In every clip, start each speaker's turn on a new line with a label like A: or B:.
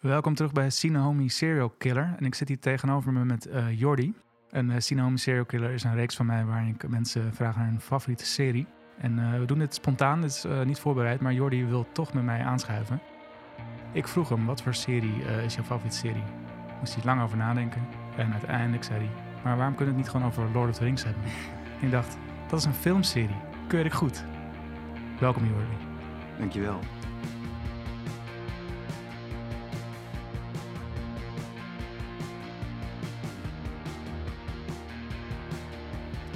A: Welkom terug bij Sinahomi Serial Killer. En ik zit hier tegenover me met eh, Jordi. En eh Sinahomi Serial Killer is een reeks van mij waarin ik mensen vraag naar hun favoriete serie. En eh, we doen dit spontaan, dit is eh, niet voorbereid, maar Jordi wil toch met mij aanschuiven. Ik vroeg hem, wat voor serie eh, is jouw favoriete serie? Moest hij lang over nadenken. En uiteindelijk zei hij, maar waarom kunnen we het niet gewoon over Lord of the Rings hebben? en ik dacht, dat is een filmserie. Keurig goed. Welkom Jordi.
B: Dankjewel.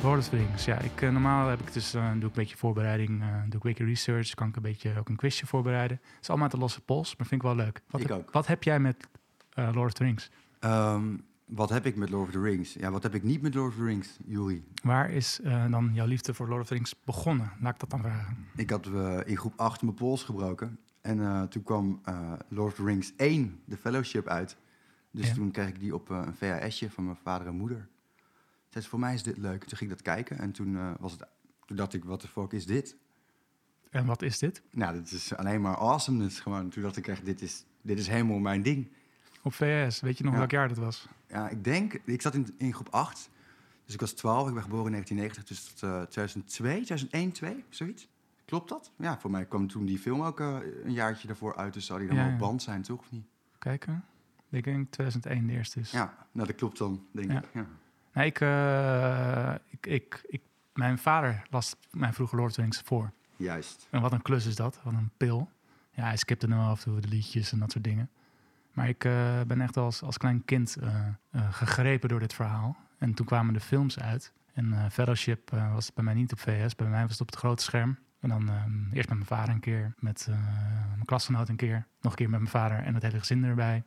A: Lord of the Rings, ja. Ik, eh, normaal heb ik dus, eh, doe ik een beetje voorbereiding, eh, doe ik een beetje research, kan ik een beetje ook een quizje voorbereiden. Het is allemaal uit de losse pols, maar vind ik wel leuk. Wat,
B: Ik
A: heb,
B: ook.
A: wat heb jij met eh, Lord of the Rings?
B: Ehm, wat heb ik met Lord of the Rings? Ja, wat heb ik niet met Lord of the Rings, Juri?
A: Waar is eh, dan jouw liefde voor Lord of the Rings begonnen? Laat ik dat dan vragen.
B: Ik had eh, in groep 8 mijn pols gebroken. En eh, toen kwam eh, Lord of the Rings 1, de fellowship, uit. Dus
A: Ja.
B: toen kreeg ik die op eh, een VHS-je van mijn vader en moeder. Toen zei ze, voor mij is dit leuk. Toen ging ik dat kijken en toen, eh, was het, toen dacht ik, wat de fuck is dit?
A: En wat is dit?
B: Nou, dit is alleen maar awesomeness gewoon. Toen dacht ik echt, dit is, dit is helemaal mijn ding.
A: Op VS, weet je nog
B: Ja.
A: welk jaar dat was?
B: Ja, ik denk, ik zat in, in groep 8. Dus ik was 12, ik ben geboren in 1990, dus tot, eh, 2002, 2001, 2, zoiets. Klopt dat? Ja, voor mij kwam toen die film ook eh, een jaartje daarvoor uit, dus zou die dan
A: Ja,
B: wel
A: ja.
B: op band zijn, toch? Of niet?
A: Kijken. Ik denk 2001 de eerste is.
B: Ja, nou dat klopt dan, denk
A: Ja.
B: ik. Ja.
A: Nee, ik, eh, ik, ik, ik, mijn vader las mijn vroege Lord of the Rings voor.
B: Juist.
A: En wat een klus is dat, wat een pil. Ja, hij skipte nou af en toe de liedjes en dat soort dingen. Maar ik eh, ben echt als, als klein kind eh, eh, gegrepen door dit verhaal. En toen kwamen de films uit. En eh, Fellowship eh, was bij mij niet op VS, bij mij was het op het grote scherm. En dan ehm, eerst met mijn vader een keer, met eh, mijn klasgenoot een keer. Nog een keer met mijn vader en het hele gezin erbij.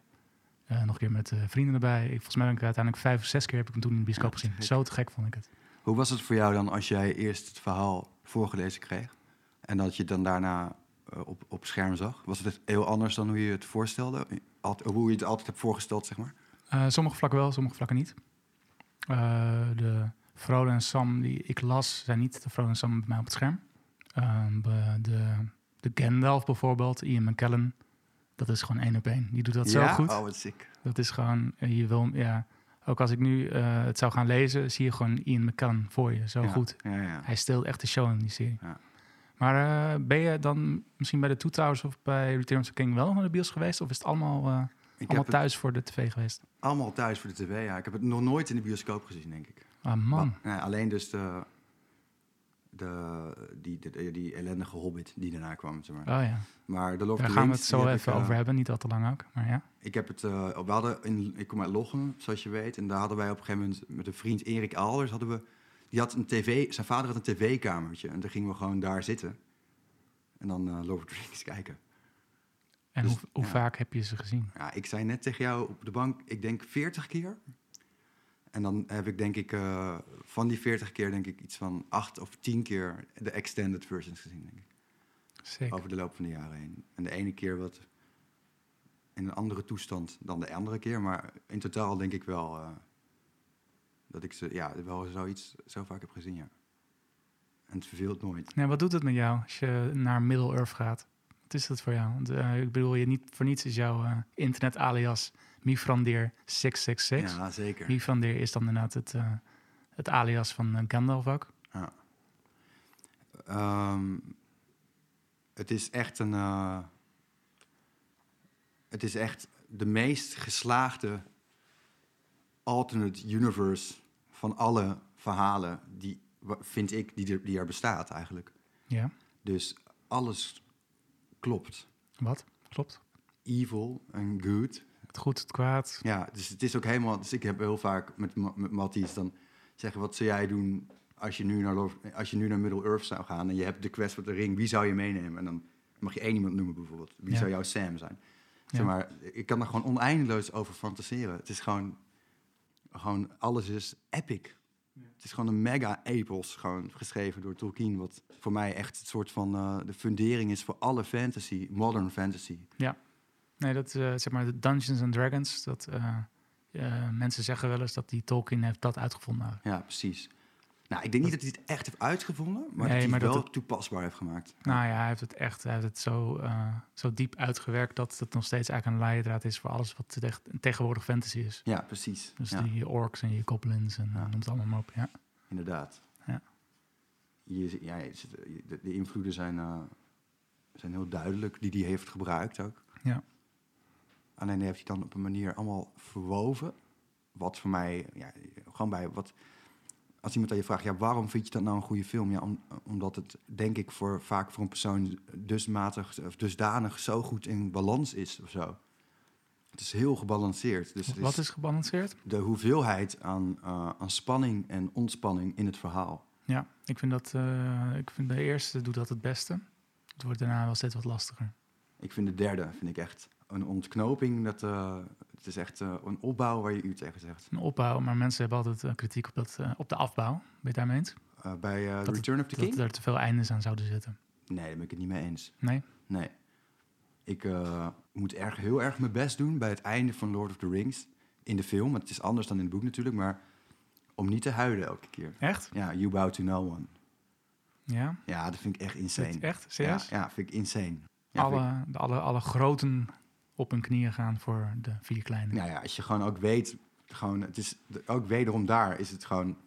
A: Eh, nog een keer met eh, vrienden erbij. Ik, volgens mij ben ik uiteindelijk vijf of zes keer heb ik hem toen in de bioscoop
B: Ja, te
A: gezien.
B: gek.
A: Zo te gek vond ik het.
B: Hoe was het voor jou dan als jij eerst het verhaal voorgelezen kreeg en dat je het dan daarna eh, op, op scherm zag? Was het heel anders dan hoe je het voorstelde? Alt- hoe je het altijd hebt voorgesteld, zeg maar?
A: Eh, sommige vlakken wel, sommige vlakken niet. Eh, de Frodo en Sam die ik las, zijn niet de Frodo en Sam bij mij op het scherm. Ehm, be- de, de Gandalf bijvoorbeeld, Ian McKellen, dat is gewoon één op één. Die doet dat
B: ja?
A: zo goed.
B: Oh, wat sick.
A: Dat is gewoon, eh, je wil, ja, ook als ik nu eh, het zou gaan lezen, zie je gewoon Ian McKellen voor je, zo
B: Ja,
A: goed.
B: Ja, ja.
A: Hij steelt echt de show in die serie.
B: Ja.
A: Maar eh, ben je dan misschien bij de Two Towers of bij Return of the King wel naar de bios geweest? Of is het allemaal, eh,
B: Ik
A: allemaal
B: heb het-
A: thuis voor de tv geweest?
B: Allemaal thuis voor de tv, ja. Ik heb het nog nooit in de bioscoop gezien, denk ik.
A: Ah, man.
B: Wa- nee, alleen dus de, de, die, die, die ellendige hobbit die daarna kwam, zeg maar.
A: Oh ja.
B: Maar de Lord of
A: Daar gaan
B: the
A: we het
B: Rings,
A: zo
B: die heb
A: even
B: ik, eh,
A: over hebben, niet al te lang ook. Maar ja,
B: Ik heb het, eh, we hadden in, ik kom uit Lochem, zoals je weet. En daar hadden wij op een gegeven moment met een vriend Erik Alders hadden we, die had een tv, zijn vader had een tv-kamertje. En daar gingen we gewoon daar zitten. En dan eh Lord of the Rings kijken.
A: en
B: Dus,
A: hoe, hoe
B: ja.
A: vaak heb je ze gezien?
B: Ja, ik zei net tegen jou op de bank, ik denk 40 keer. En dan heb ik denk ik eh, van die 40 keer denk ik iets van 8 of 10 keer de extended versions gezien, denk ik.
A: Zeker.
B: Over de loop van de jaren heen. En de ene keer wat in een andere toestand dan de andere keer. Maar in totaal denk ik wel eh, dat ik ze ja, wel zoiets zo vaak heb gezien, ja. En het verveelt nooit.
A: Nee, Nou, wat doet het met jou als je naar Middle-earth gaat? Wat is dat voor jou? Want eh, ik bedoel, je niet, voor niets is jouw eh, internet alias Mifrandeer 666.
B: Ja, zeker.
A: Mifrandeer is dan inderdaad het, eh, het alias van eh, Gandalf ook.
B: Ehm, het is echt een. eh, het is echt de meest geslaagde alternate universe van alle verhalen die wa- vind ik die er, die er bestaat eigenlijk.
A: Ja,
B: Dus alles klopt.
A: wat? Klopt.
B: Evil en good.
A: Het goed, het kwaad.
B: Ja, dus het is ook helemaal. Dus ik heb heel vaak met, Ma- met Matties dan zeggen: wat zou jij doen als je nu naar, Lord- als je nu naar Middle Earth zou gaan en je hebt de quest voor de ring, wie zou je meenemen? En dan mag je één iemand noemen bijvoorbeeld. Wie
A: Ja.
B: zou jouw Sam zijn? Zeg
A: Ja.
B: maar, ik kan er gewoon oneindeloos over fantaseren. Het is gewoon, gewoon alles is epic. Het is gewoon een mega epos, gewoon geschreven door Tolkien, wat voor mij echt het soort van eh, de fundering is voor alle fantasy, modern fantasy.
A: Nee, dat eh, zeg maar de Dungeons and Dragons. Dat, eh, eh, mensen zeggen wel eens dat die Tolkien heeft dat uitgevonden.
B: Ja, precies. Nou, ik denk niet dat hij het echt heeft uitgevonden, maar dat
A: Nee,
B: hij het
A: maar dat
B: wel
A: het-
B: toepasbaar heeft gemaakt.
A: Nou ja, hij heeft het echt hij heeft het zo, eh, zo diep uitgewerkt dat het nog steeds eigenlijk een leidraad is voor alles wat echt tegenwoordig fantasy is.
B: Ja, precies.
A: Dus
B: ja,
A: die orks en je goblins en eh,
B: Ja.
A: noem het allemaal maar op. Ja.
B: Inderdaad.
A: Ja.
B: Je, zi- ja, je zit- je- de, de invloeden zijn, eh, zijn heel duidelijk, die hij heeft gebruikt ook.
A: Ja.
B: Alleen die heeft hij dan op een manier allemaal verwoven. Wat voor mij, ja, gewoon bij wat. Als iemand aan je vraagt, ja, waarom vind je dat nou een goede film? Ja, om- omdat het, denk ik, voor, vaak voor een persoon dusmatig, of dusdanig zo goed in balans is of zo. Het is heel gebalanceerd. Dus het
A: Wat is gebalanceerd?
B: de hoeveelheid aan, eh, aan spanning en ontspanning in het verhaal.
A: Ja, ik vind dat eh, ik vind de eerste doet dat het beste. Het wordt daarna wel steeds wat lastiger.
B: Ik vind de derde vind ik echt een ontknoping. Dat, eh, het is echt eh, een opbouw waar je u tegen zegt.
A: Een opbouw, maar mensen hebben altijd eh, kritiek op, dat, eh, op de afbouw. Ben je het daarmee eens?
B: Eh, bij eh,
A: Dat-
B: Return of the King?
A: Dat er te veel eindes aan zouden zitten.
B: Nee, daar ben ik het niet mee eens.
A: Nee?
B: Nee. Ik eh, moet erg, heel erg mijn best doen bij het einde van Lord of the Rings. In de film, want het is anders dan in het boek natuurlijk. Maar om niet te huilen elke keer.
A: Echt?
B: Ja, You Bow to No One.
A: Ja?
B: Ja, dat vind ik echt
A: Is het
B: insane.
A: Echt?
B: Ja,
A: Serieus?
B: ja, vind ik insane. Ja, vind
A: alle, de, alle, alle groten op hun knieën gaan voor de vier kleine.
B: Nou ja, als je gewoon ook weet, gewoon, het is ook wederom daar is het gewoon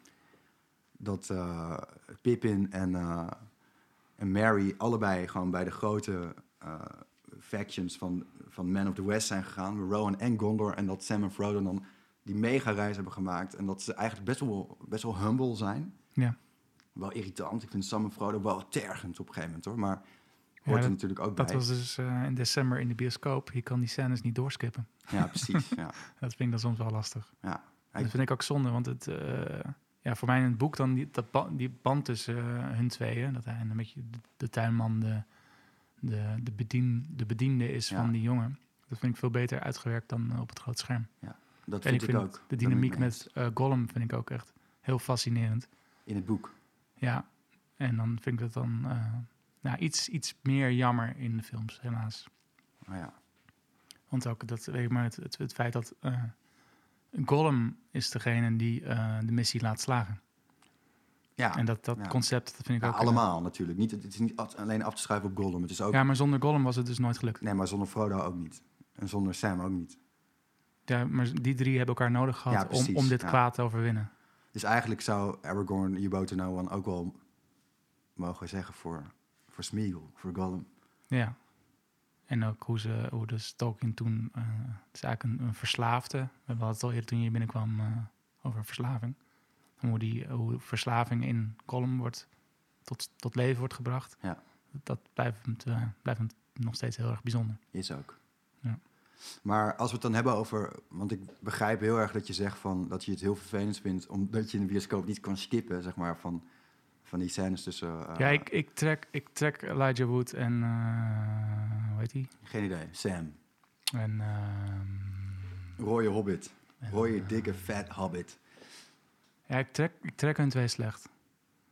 B: dat eh, Pippin en, eh, en Mary allebei gewoon bij de grote eh, factions van, van Man of the West zijn gegaan, Rowan en Gondor, en dat Sam en Frodo dan die mega reis hebben gemaakt en dat ze eigenlijk best wel, best wel humble zijn.
A: Ja.
B: Wel irritant. Ik vind Sam en Frodo wel tergend op een gegeven moment hoor, maar hoort
A: Ja,
B: er
A: dat-
B: natuurlijk ook
A: Dat
B: bij.
A: was dus eh, in december in de bioscoop. Je kan die scènes niet doorskippen.
B: Ja, precies. ja.
A: Dat vind ik dan soms wel lastig.
B: Ja.
A: En Dat vind ik ook zonde, want het, eh, ja, voor mij in het boek dan die, dat ba- die band tussen eh, hun tweeën. Dat hij een beetje de, de tuinman, de, de, de, bedien, de bediende is
B: Ja.
A: van die jongen. Dat vind ik veel beter uitgewerkt dan eh, op het groot scherm.
B: Dat
A: en
B: vind
A: vind
B: ik, ook.
A: de
B: Daar ben ik
A: dynamiek
B: mee eens.
A: met eh, Gollum vind ik ook echt heel fascinerend.
B: In het boek.
A: Ja, en dan vind ik dat dan eh, nou, iets, iets meer jammer in de films, helaas.
B: Oh ja.
A: Want ook dat, weet ik maar, het, het, het feit dat eh Gollum is degene die eh, de missie laat slagen.
B: Ja,
A: en dat, dat
B: ja.
A: concept dat vind ik
B: ja,
A: ook... eh,
B: allemaal natuurlijk. Niet, het is niet at- alleen af te schuiven op Gollum. Het is ook,
A: ja, maar zonder Gollum was het dus nooit gelukt.
B: nee, maar zonder Frodo ook niet. En zonder Sam ook niet.
A: Ja, maar die drie hebben elkaar nodig
B: Ja,
A: gehad om,
B: precies,
A: om dit
B: ja.
A: kwaad te overwinnen.
B: Dus eigenlijk zou Aragorn, You Bow to No One ook wel mogen zeggen voor, voor Smeagol, voor Gollum.
A: Ja. En ook hoe, ze, hoe dus Tolkien toen... eh, het is eigenlijk een, een verslaafde. We hadden het al eerder toen je hier binnenkwam eh, over verslaving. En Hoe, die, hoe verslaving in column wordt tot, tot leven wordt gebracht.
B: Ja.
A: Dat blijft, me te- blijft me nog steeds heel erg bijzonder.
B: Is ook.
A: Ja.
B: Maar als we het dan hebben over... Want ik begrijp heel erg dat je zegt van, dat je het heel vervelend vindt... omdat je in de bioscoop niet kan skippen, zeg maar, van, van die scènes tussen... eh,
A: ja, ik, ik, trek, ik trek Elijah Wood en... eh, hoe heet die?
B: Geen idee. Sam.
A: En... ehm,
B: Rooie hobbit.
A: en,
B: Rooie,
A: eh,
B: dikke, vet hobbit.
A: Ja, ik trek, ik trek hun twee slecht.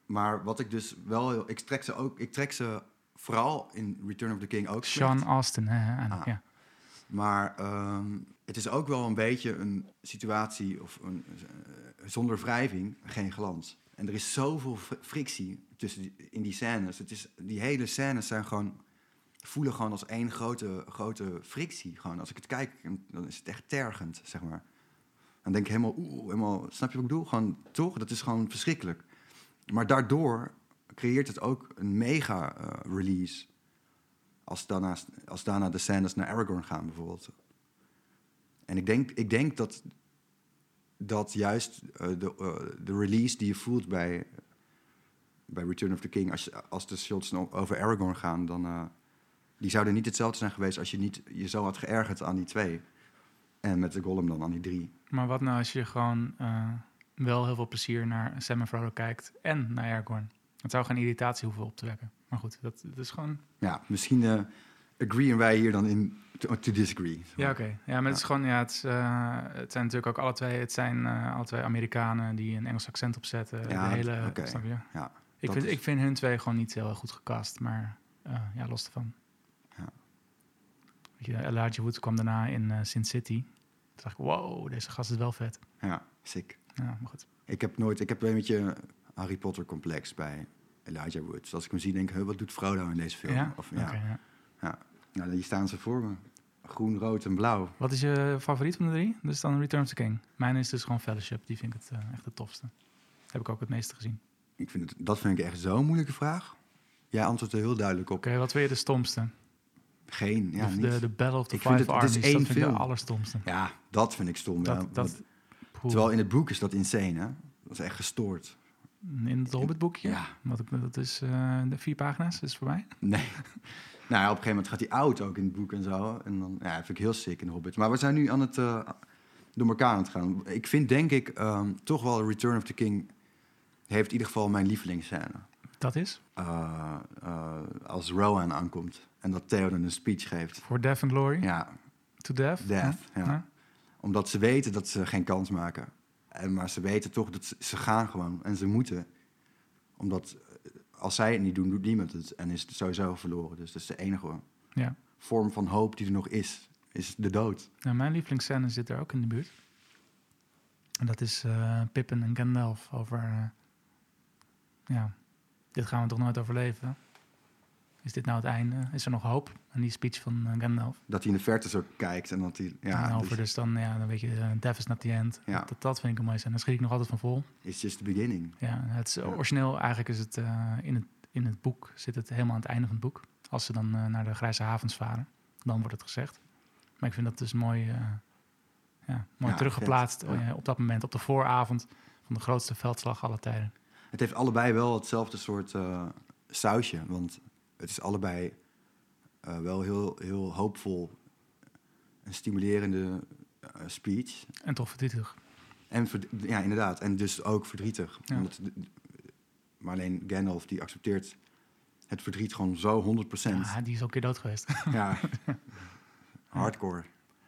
B: Maar wat ik dus wel heel... Ik trek ze, ook, ik trek ze vooral in Return of the King ook
A: Sean
B: slecht.
A: Austin, hè, eigenlijk,
B: Ah.
A: ja.
B: Maar ehm, het is ook wel een beetje een situatie of een, eh, zonder wrijving geen glans. En er is zoveel fr- frictie tussen die- in die scènes. Het is, die hele scènes zijn gewoon, voelen gewoon als één grote, grote frictie. Gewoon. Als ik het kijk, dan is het echt tergend, zeg maar. Dan denk ik helemaal, oeh, helemaal, snap je wat ik bedoel? Gewoon, toch? Dat is gewoon verschrikkelijk. Maar daardoor creëert het ook een mega eh, release. Als daarna, als daarna de scènes naar Aragorn gaan bijvoorbeeld. En ik denk, ik denk dat, dat juist eh, de, eh, de release die je voelt bij, bij Return of the King... als, je- als de shots no- over Aragorn gaan, dan... eh, die zouden niet hetzelfde zijn geweest als je niet je zo had geërgerd aan die twee. En met de Gollum dan aan die drie.
A: Maar wat nou als je gewoon eh, wel heel veel plezier naar Sam en Frodo kijkt en naar Aragorn? Het zou geen irritatie hoeven op te wekken. Maar goed, dat, dat is gewoon...
B: Ja, misschien eh agreeen wij hier dan in to, to disagree.
A: Ja, oké. Ja, maar het is gewoon... Ja, het, is, eh, het zijn natuurlijk ook alle twee... Het zijn eh, alle twee Amerikanen die een Engels accent opzetten.
B: Ja,
A: de hele...
B: oké.
A: Snap je?
B: Ja,
A: ik,
B: dat
A: vind,
B: is-
A: ik vind hun twee gewoon niet heel erg goed gecast. Maar eh, ja, los ervan.
B: Ja.
A: Weet je, Elijah Wood kwam daarna in eh, Sin City. Toen dacht ik, wow, deze gast is wel vet.
B: Ja, sick.
A: Ja, maar goed.
B: Ik heb nooit, ik heb een beetje Harry Potter complex bij Elijah Wood. Dus als ik hem zie, denk ik, "Huh, wat doet Frodo in deze film?
A: Ja?
B: Of, ja.
A: Oké, ja.
B: ja. Nou, die staan ze voor me. Groen, rood en blauw.
A: Wat is je favoriet van de drie? Dus dan Return of the King. Mijn is dus gewoon Fellowship. Die vind ik het, eh, echt het tofste. Heb ik ook het meeste gezien.
B: Ik vind het, dat vind ik echt zo'n moeilijke vraag. Jij antwoordt er heel duidelijk op.
A: Oké, wat vind je de stomste?
B: Geen, ja,
A: de,
B: niet.
A: de, de Battle of the
B: Ik vind
A: Five
B: het- het is
A: Armies.
B: één
A: dat vind ik
B: film.
A: de allerstomste.
B: Ja, dat vind ik stom. ja.
A: dat, dat,
B: Want-
A: Poeh.
B: terwijl in het boek is dat insane, hè? Dat is echt gestoord.
A: in het Hobbit-boekje?
B: Ja.
A: Wat ik, dat is eh, de vier pagina's, is voor mij.
B: Nee. nou ja, op een gegeven moment gaat hij oud ook in het boek en zo. En dan, ja, vind ik heel sick in Hobbit. Maar we zijn nu aan het eh, door elkaar aan het gaan. Ik vind denk ik ehm, toch wel Return of the King heeft in ieder geval mijn lievelingsscène.
A: Dat is
B: Eh, eh, als Rowan aankomt en dat Theoden een speech geeft.
A: voor Death and Glory.
B: Ja,
A: To Death.
B: Death, ja.
A: Ja.
B: Omdat ze weten dat ze geen kans maken. En, maar ze weten toch dat ze, ze gaan gewoon en ze moeten. Omdat eh, als zij het niet doen, doet niemand het. En is het sowieso verloren. Dus dat is de enige
A: Ja.
B: vorm van hoop die er nog is. Is de dood.
A: Nou, mijn lievelingsscène zit er ook in de buurt. En dat is eh, Pippin en Gandalf over... eh, ja, dit gaan we toch nooit overleven? Is dit nou het einde? Is er nog hoop? En die speech van eh, Gandalf.
B: Dat hij in de verte zo kijkt en dat hij... Ja,
A: en
B: dus
A: over dus, dan, ja, dan weet je, eh, death is not the end.
B: Ja.
A: Dat, dat vind ik een mooie scène. Daar schrik ik nog altijd van vol.
B: it's just the beginning.
A: Ja, het is
B: Ja.
A: origineel eigenlijk is het, eh, in het in het boek zit het helemaal aan het einde van het boek. Als ze dan eh, naar de grijze havens varen, dan wordt het gezegd. Maar ik vind dat dus mooi, eh, ja, mooi
B: Ja,
A: teruggeplaatst
B: vet, ja.
A: eh, op dat moment, op de vooravond van de grootste veldslag aller tijden.
B: Het heeft allebei wel hetzelfde soort eh, sausje. Want het is allebei eh, wel heel, heel hoopvol. Een stimulerende eh, speech.
A: En toch verdrietig.
B: En verd- ja, inderdaad. En dus ook verdrietig.
A: Ja.
B: Omdat de- maar alleen Gandalf die accepteert het verdriet gewoon zo 100%.
A: Ja, die is al een keer dood geweest.
B: Ja. Hardcore.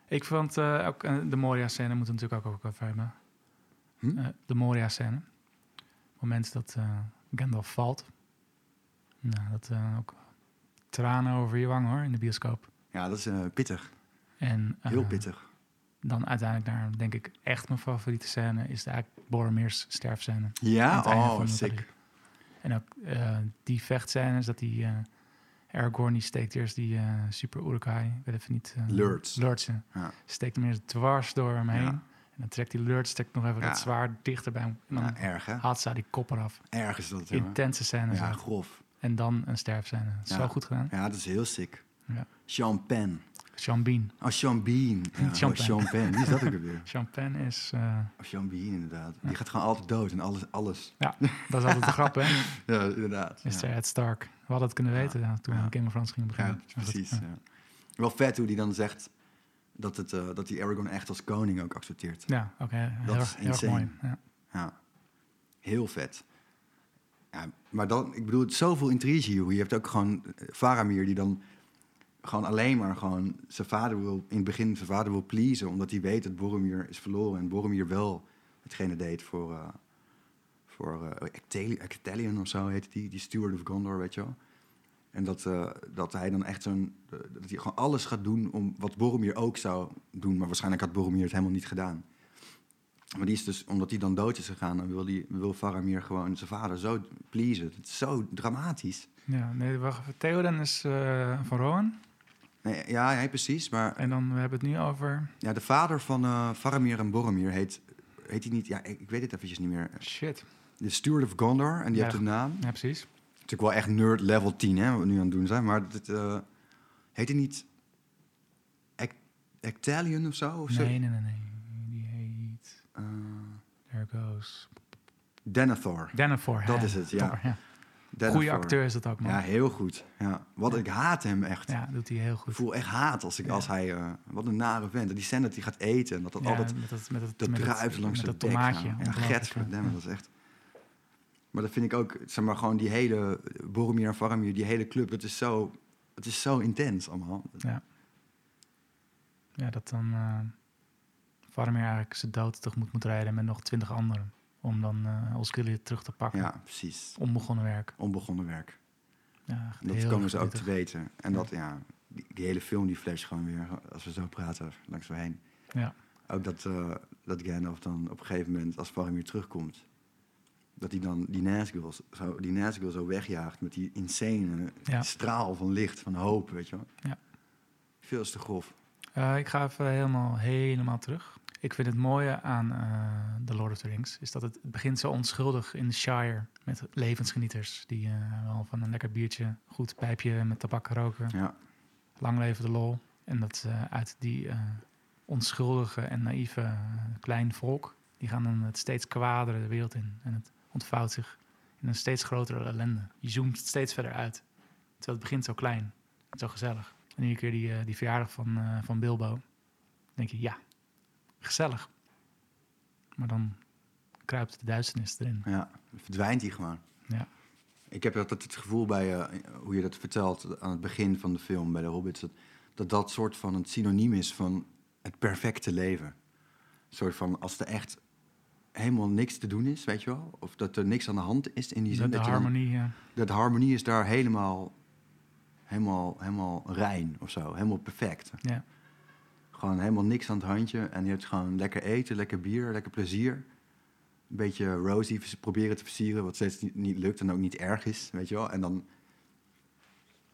A: ik vond eh, ook eh, de Moria-scène, moeten we natuurlijk ook ook over hebben.
B: Hm?
A: Eh, de Moria-scène. Het moment dat eh, Gandalf valt. Nou, dat eh, ook tranen over je wang hoor, in de bioscoop.
B: Ja, dat is eh, pittig.
A: En eh,
B: Heel pittig.
A: dan uiteindelijk naar, denk ik, echt mijn favoriete scène is de eigenlijk Boromir's sterfscène. Aan
B: Ja,
A: het einde
B: oh,
A: van de
B: sick.
A: Riddick. Ah, En ook eh, die vechtscènes, dat die eh Aragorn die steekt eerst die eh, super Urukai, ik weet even niet. eh,
B: Lurts.
A: Lurtsen.
B: Ja.
A: Steekt hem eerst dwars door hem heen.
B: Ja.
A: En dan trekt die Lurts, trekt nog even
B: Ja.
A: dat zwaard dichter bij hem. En dan
B: Ja, erg, hè?
A: haalt ze die kop eraf.
B: Erg is dat, jongen.
A: Intense scène.
B: Ja,
A: zo.
B: grof.
A: En dan een sterfscène.
B: Ja.
A: Zo goed gedaan.
B: Ja, dat is heel sick.
A: Ja.
B: Sean Penn.
A: Sean Bean.
B: Oh, Sean Bean. Ja,
A: Sean
B: oh, Sean Penn. Wie is dat ook alweer?
A: Sean Penn is... eh,
B: Oh, Sean Bean, inderdaad. Die gaat gewoon altijd dood en alles. alles.
A: dat is altijd de grap, hè?
B: Ja, inderdaad.
A: Is
B: Ja.
A: er Ed Stark. We hadden het kunnen
B: Ja.
A: weten ja, toen we
B: Ja.
A: aan Game of Thrones gingen beginnen.
B: Ja,
A: Maar goed,
B: precies.
A: ja.
B: ja. Wel vet hoe die dan zegt dat, het, eh, dat die Aragorn echt als koning ook accepteert.
A: Ja, oké. Heel,
B: Dat
A: erg-
B: is
A: heel erg
B: insane.
A: mooi. Ja.
B: Ja. Heel vet. Ja, maar dan, ik bedoel, het is zoveel intrige hier. Je hebt ook gewoon eh, Faramir die dan gewoon alleen maar gewoon zijn vader wil, in het begin zijn vader wil pleasen, omdat hij weet dat Boromir is verloren en Boromir wel hetgene deed voor, eh voor eh, Ecteli- Ectelion of zo heet die, die steward of Gondor, weet je wel. En dat, eh, dat hij dan echt zo'n, eh, dat hij gewoon alles gaat doen om wat Boromir ook zou doen, maar waarschijnlijk had Boromir het helemaal niet gedaan. Maar die is dus, omdat hij dan dood is gegaan, dan wil, die, wil Faramir gewoon zijn vader zo pleasen. Het is zo dramatisch.
A: ja, nee, wacht even. Theoden is eh, van Rowan.
B: Nee, ja, nee, precies. Maar
A: En dan we hebben het nu over...
B: Ja, de vader van eh, Faramir en Boromir heet... Heet hij niet? Ja, ik, ik weet het eventjes niet meer.
A: Shit.
B: De Steward of Gondor, en die
A: Ja.
B: heeft een naam.
A: Ja, precies.
B: Natuurlijk wel echt nerd level 10, hè, wat we nu aan het doen zijn. Maar dit, eh, heet hij niet... Ec- Ectalion of zo? Of zo?
A: Nee, nee, nee, nee. Die heet...
B: Eh,
A: There goes...
B: Denethor.
A: Denethor.
B: Dat
A: hè.
B: is het, ja.
A: Topper, Goeie
B: Denethor.
A: acteur is dat ook, man.
B: Ja,
A: Ja,
B: heel goed. Ja. Wat, ik haat hem echt.
A: doet hij heel
B: Ik
A: goed.
B: voel echt haat als, ik, als hij... eh, wat een nare vent. En Die scène dat hij gaat eten en dat dat
A: Ja,
B: altijd...
A: met dat, met dat,
B: Dat
A: met dat-
B: druipt langs
A: met
B: de
A: dat
B: dek.
A: tomaatje.
B: Ja, ja
A: Ongelooflijk,
B: gert, verdamme, dat is echt... Maar dat vind ik ook, zeg maar, gewoon die hele... eh, Boromir en Faramir, die hele club, dat is zo... Het is zo intens allemaal.
A: Ja, dat dan eh Faramir eigenlijk zijn dood tegemoet moet rijden met nog twintig anderen. Om dan eh Osgiliath terug te pakken.
B: Ja, precies.
A: Onbegonnen werk.
B: Onbegonnen werk.
A: Ja, echt
B: En Dat
A: heel
B: komen ze ook te
A: verdrietig.
B: weten. En
A: Ja.
B: dat, ja... Die, die hele film, die flash gewoon weer, eh, als we zo praten, langs me heen.
A: Ja.
B: Ook dat, eh dat Gandalf dan op een gegeven moment, als Faramir terugkomt... Dat hij dan die Nazgul zo, die Nazgul zo wegjaagt met die insane
A: Ja.
B: straal van licht, van hoop, weet je wel.
A: Ja.
B: Veel is te grof.
A: Eh, ik ga even helemaal, helemaal terug. Ik vind het mooie aan eh The Lord of the Rings is dat het, het begint zo onschuldig in de Shire met levensgenieters die eh, wel van een lekker biertje, goed pijpje met tabak roken.
B: Ja.
A: Lang leven de lol. En dat eh, uit die eh, onschuldige en naïeve eh, klein volk, die gaan dan het steeds kwadere de wereld in. En het ontvouwt zich in een steeds grotere ellende. Je zoomt steeds verder uit. Terwijl het begint zo klein, en zo gezellig. En iedere keer die, eh, die verjaardag van, eh, van Bilbo, dan denk je, ja, gezellig. Maar dan kruipt de duisternis erin.
B: Ja, verdwijnt hij gewoon.
A: Ja.
B: Ik heb altijd het gevoel bij eh, hoe je dat vertelt aan het begin van de film bij de Hobbits, dat dat, dat soort van een synoniem is van het perfecte leven. Een soort van als er echt helemaal niks te doen is, weet je wel, of dat er niks aan de hand is in die zin.
A: De, de
B: dat je dan-
A: harmonie, eh, ja.
B: dat de harmonie is daar helemaal, helemaal, helemaal rein of zo. Helemaal perfect.
A: Ja.
B: Gewoon helemaal niks aan het handje. En je hebt gewoon lekker eten, lekker bier, lekker plezier. Een beetje rosy vers- proberen te versieren, wat steeds niet, niet lukt en ook niet erg is, weet je wel. En dan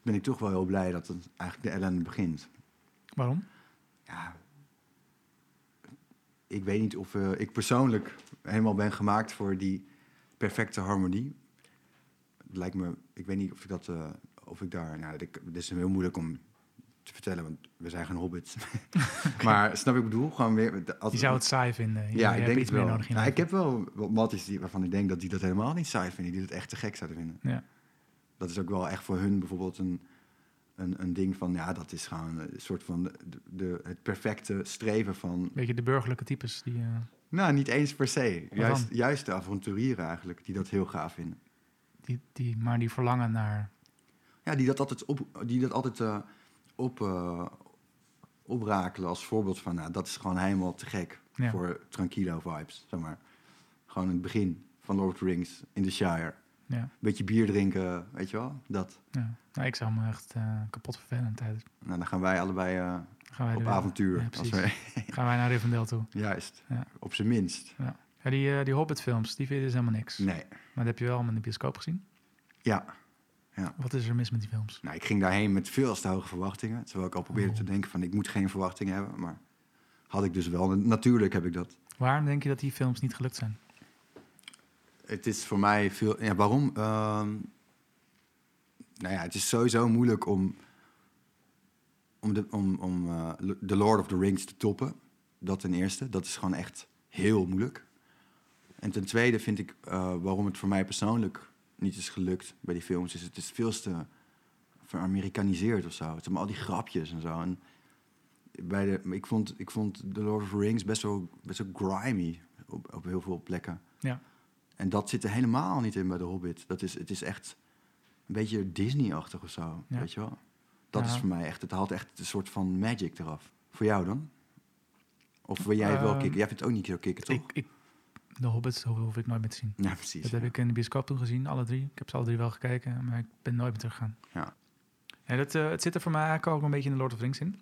B: ben ik toch wel heel blij dat het eigenlijk de ellende begint.
A: Waarom?
B: Ja. Ik weet niet of eh, ik persoonlijk helemaal ben gemaakt voor die perfecte harmonie. Het lijkt me, ik weet niet of ik dat, eh, of ik daar, nou, dit, dit is heel moeilijk om te vertellen, want we zijn geen hobbits. Maar snap ik bedoel, gewoon weer. Als,
A: Je zou het saai vinden. Je-
B: ja,
A: je
B: ik
A: hebt
B: denk
A: iets
B: het wel.
A: meer nodig in
B: Nou, ik
A: leven.
B: heb wel wat matties die, waarvan ik denk dat die dat helemaal niet saai vinden, die dat echt te gek zouden vinden.
A: Ja.
B: Dat is ook wel echt voor hun bijvoorbeeld een, een, een ding van, ja, dat is gewoon een soort van de, de, het perfecte streven van,
A: Beetje de burgerlijke types die... eh,
B: nou, niet eens per se.
A: dan?
B: Juist, juist de avonturieren eigenlijk, die dat heel gaaf vinden.
A: Die, die, maar die verlangen naar.
B: Ja, die dat altijd, op, die dat altijd eh, op, eh, oprakelen als voorbeeld van, nou, dat is gewoon helemaal te gek
A: Ja.
B: voor tranquilo vibes, zeg maar. Gewoon het begin van Lord of the Rings in the Shire.
A: Ja,
B: Beetje bier drinken, weet je wel, dat.
A: ja. Nou, ik zou me echt eh, kapot vervelen tijdens.
B: Nou, dan gaan wij allebei eh,
A: Gaan wij
B: op
A: de-
B: avontuur.
A: Ja,
B: als
A: precies.
B: wij,
A: Gaan wij naar Rivendell toe.
B: juist,
A: Ja.
B: op zijn minst.
A: Ja, die, eh, die Hobbit-films, die vind je dus helemaal niks.
B: Nee,
A: Maar dat heb je wel allemaal in de bioscoop gezien.
B: ja.
A: Wat is er mis met die films?
B: Nou, ik ging daarheen met veel te hoge verwachtingen. Terwijl ik al probeerde
A: Oh.
B: te denken van, ik moet geen verwachtingen hebben. Maar had ik dus wel. En Natuurlijk heb ik dat.
A: Waarom denk je dat die films niet gelukt zijn?
B: Het is voor mij veel... Ja, waarom? Ehm, nou ja, het is sowieso moeilijk om... Om, de, om, om eh, The Lord of the Rings te toppen. Dat ten eerste. Dat is gewoon echt heel moeilijk. En ten tweede vind ik eh, waarom het voor mij persoonlijk niet is gelukt bij die films. Is het is veel te veramerikaniseerd of zo. Het zijn al die grapjes en zo. En bij de, ik, vond, ik vond The Lord of the Rings best wel, best wel grimy op, op heel veel plekken.
A: Ja.
B: En dat zit er helemaal niet in bij The Hobbit. Dat is, het is echt een beetje Disney-achtig of zo.
A: Ja.
B: Weet je wel? Dat
A: Ja.
B: is voor mij echt. Het haalt echt een soort van magic eraf. Voor jou dan? Of wil jij het wel
A: Ehm,
B: kicken? Jij vindt het ook niet zo kicken, toch?
A: Ik, ik, de Hobbits ho- hoef ik nooit meer te zien.
B: Ja, precies.
A: Dat heb ik in de bioscoop toen gezien, alle drie. Ik heb ze alle drie wel gekeken, maar ik ben nooit meer teruggegaan.
B: Ja.
A: Ja, dat, eh, het zit er voor mij eigenlijk ook een beetje in de Lord of the Rings in.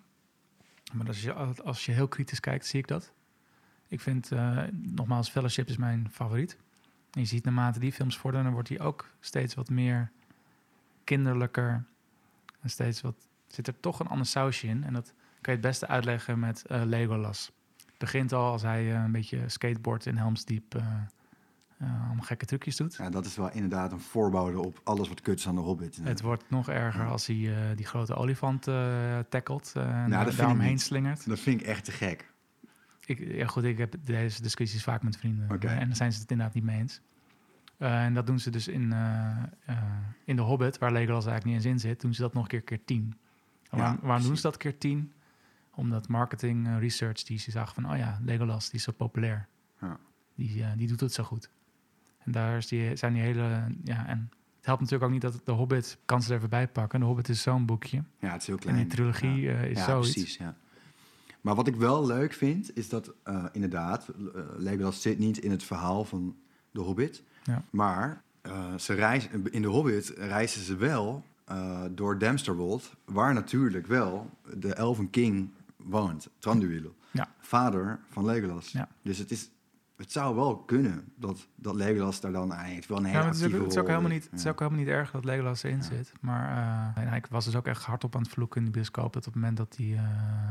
A: Maar als je, als je heel kritisch kijkt, zie ik dat. Ik vind, eh, nogmaals, Fellowship is mijn favoriet. En je ziet naarmate die films vorderen, wordt die ook steeds wat meer kinderlijker. En steeds wat, zit er toch een ander sausje in. En dat kan je het beste uitleggen met eh, Legolas. Het begint al als hij eh, een beetje skateboard in Helm's Diep... eh, eh, allemaal gekke trucjes doet.
B: Ja, dat is wel inderdaad een voorbode op alles wat kuts aan de Hobbit.
A: Het wordt nog erger als hij eh, die grote olifant eh tackelt eh, en
B: Nou, dat
A: daar-
B: vind ik
A: daaromheen
B: niet.
A: slingert.
B: Dat vind ik echt te gek.
A: Ik, ja, goed, ik heb deze discussies vaak met vrienden eh,
B: Oké.
A: en dan zijn ze het inderdaad niet mee eens. Eh, en dat doen ze dus in, eh, eh, in The Hobbit, waar Legolas eigenlijk niet eens in zit, doen ze dat nog een keer keer tien. En
B: Ja,
A: waarom, waarom doen
B: precies.
A: ze dat keer tien? Omdat marketing eh, research die ze zag van, oh ja, Legolas die is zo populair.
B: Ja.
A: Die, eh, die doet het zo goed. En daar is die, zijn die hele, ja, en het helpt natuurlijk ook niet dat The Hobbit kan ze er even bij pakken. De Hobbit is zo'n boekje.
B: Ja, het is heel klein.
A: En die trilogie
B: Ja.
A: eh, is
B: ja,
A: zoiets.
B: precies. Ja. Maar wat ik wel leuk vind, is dat eh, inderdaad, eh, Legolas zit niet in het verhaal van de Hobbit.
A: Ja.
B: Maar eh, ze reis, in de Hobbit reizen ze wel eh, door Damsterwold, waar natuurlijk wel de Elven King woont, Tranduil.
A: Ja.
B: Vader van Legolas.
A: Ja.
B: Dus het is, Het zou wel kunnen dat, dat Legolas daar dan aan heeft. Wel een hele
A: Ja, maar het, is ook,
B: actieve
A: het is ook
B: rol
A: helemaal
B: in.
A: niet, het is
B: Ja.
A: ook helemaal niet erg dat Legolas erin
B: Ja.
A: zit. Maar eh, en ik was dus ook echt hardop aan het vloeken in de bioscoop. Dat op het moment dat die, eh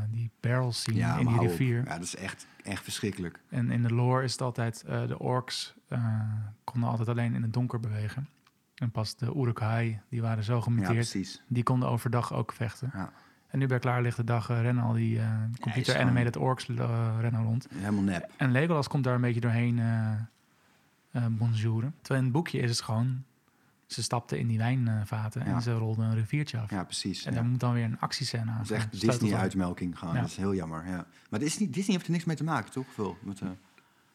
A: die barrels zien
B: Ja,
A: in
B: maar
A: die
B: hou op.
A: rivier.
B: Ja, dat is echt, echt verschrikkelijk.
A: En in de lore is het altijd, eh, de orks eh, konden altijd alleen in het donker bewegen. En pas de Uruk-hai, die waren zo
B: Ja,
A: gemuteerd,
B: precies.
A: die konden overdag ook vechten.
B: Ja.
A: En nu bij klaarlichte dag eh, rennen al die eh, computer
B: gewoon-
A: animated orks eh, rennen rond.
B: Helemaal nep.
A: En Legolas komt daar een beetje doorheen eh eh, bonjouren. Terwijl in het boekje is het gewoon... Ze stapten in die wijnvaten
B: Ja.
A: en ze rolden een riviertje af.
B: Ja, precies.
A: En
B: ja.
A: daar moet dan weer een actiescène aan.
B: Dat is
A: gaan.
B: echt
A: Staat het dan?
B: Disney-uitmelking gaan.
A: Ja.
B: Dat is heel jammer. Ja. Maar het is niet, Disney heeft er niks mee te maken, toch? Veel met, eh,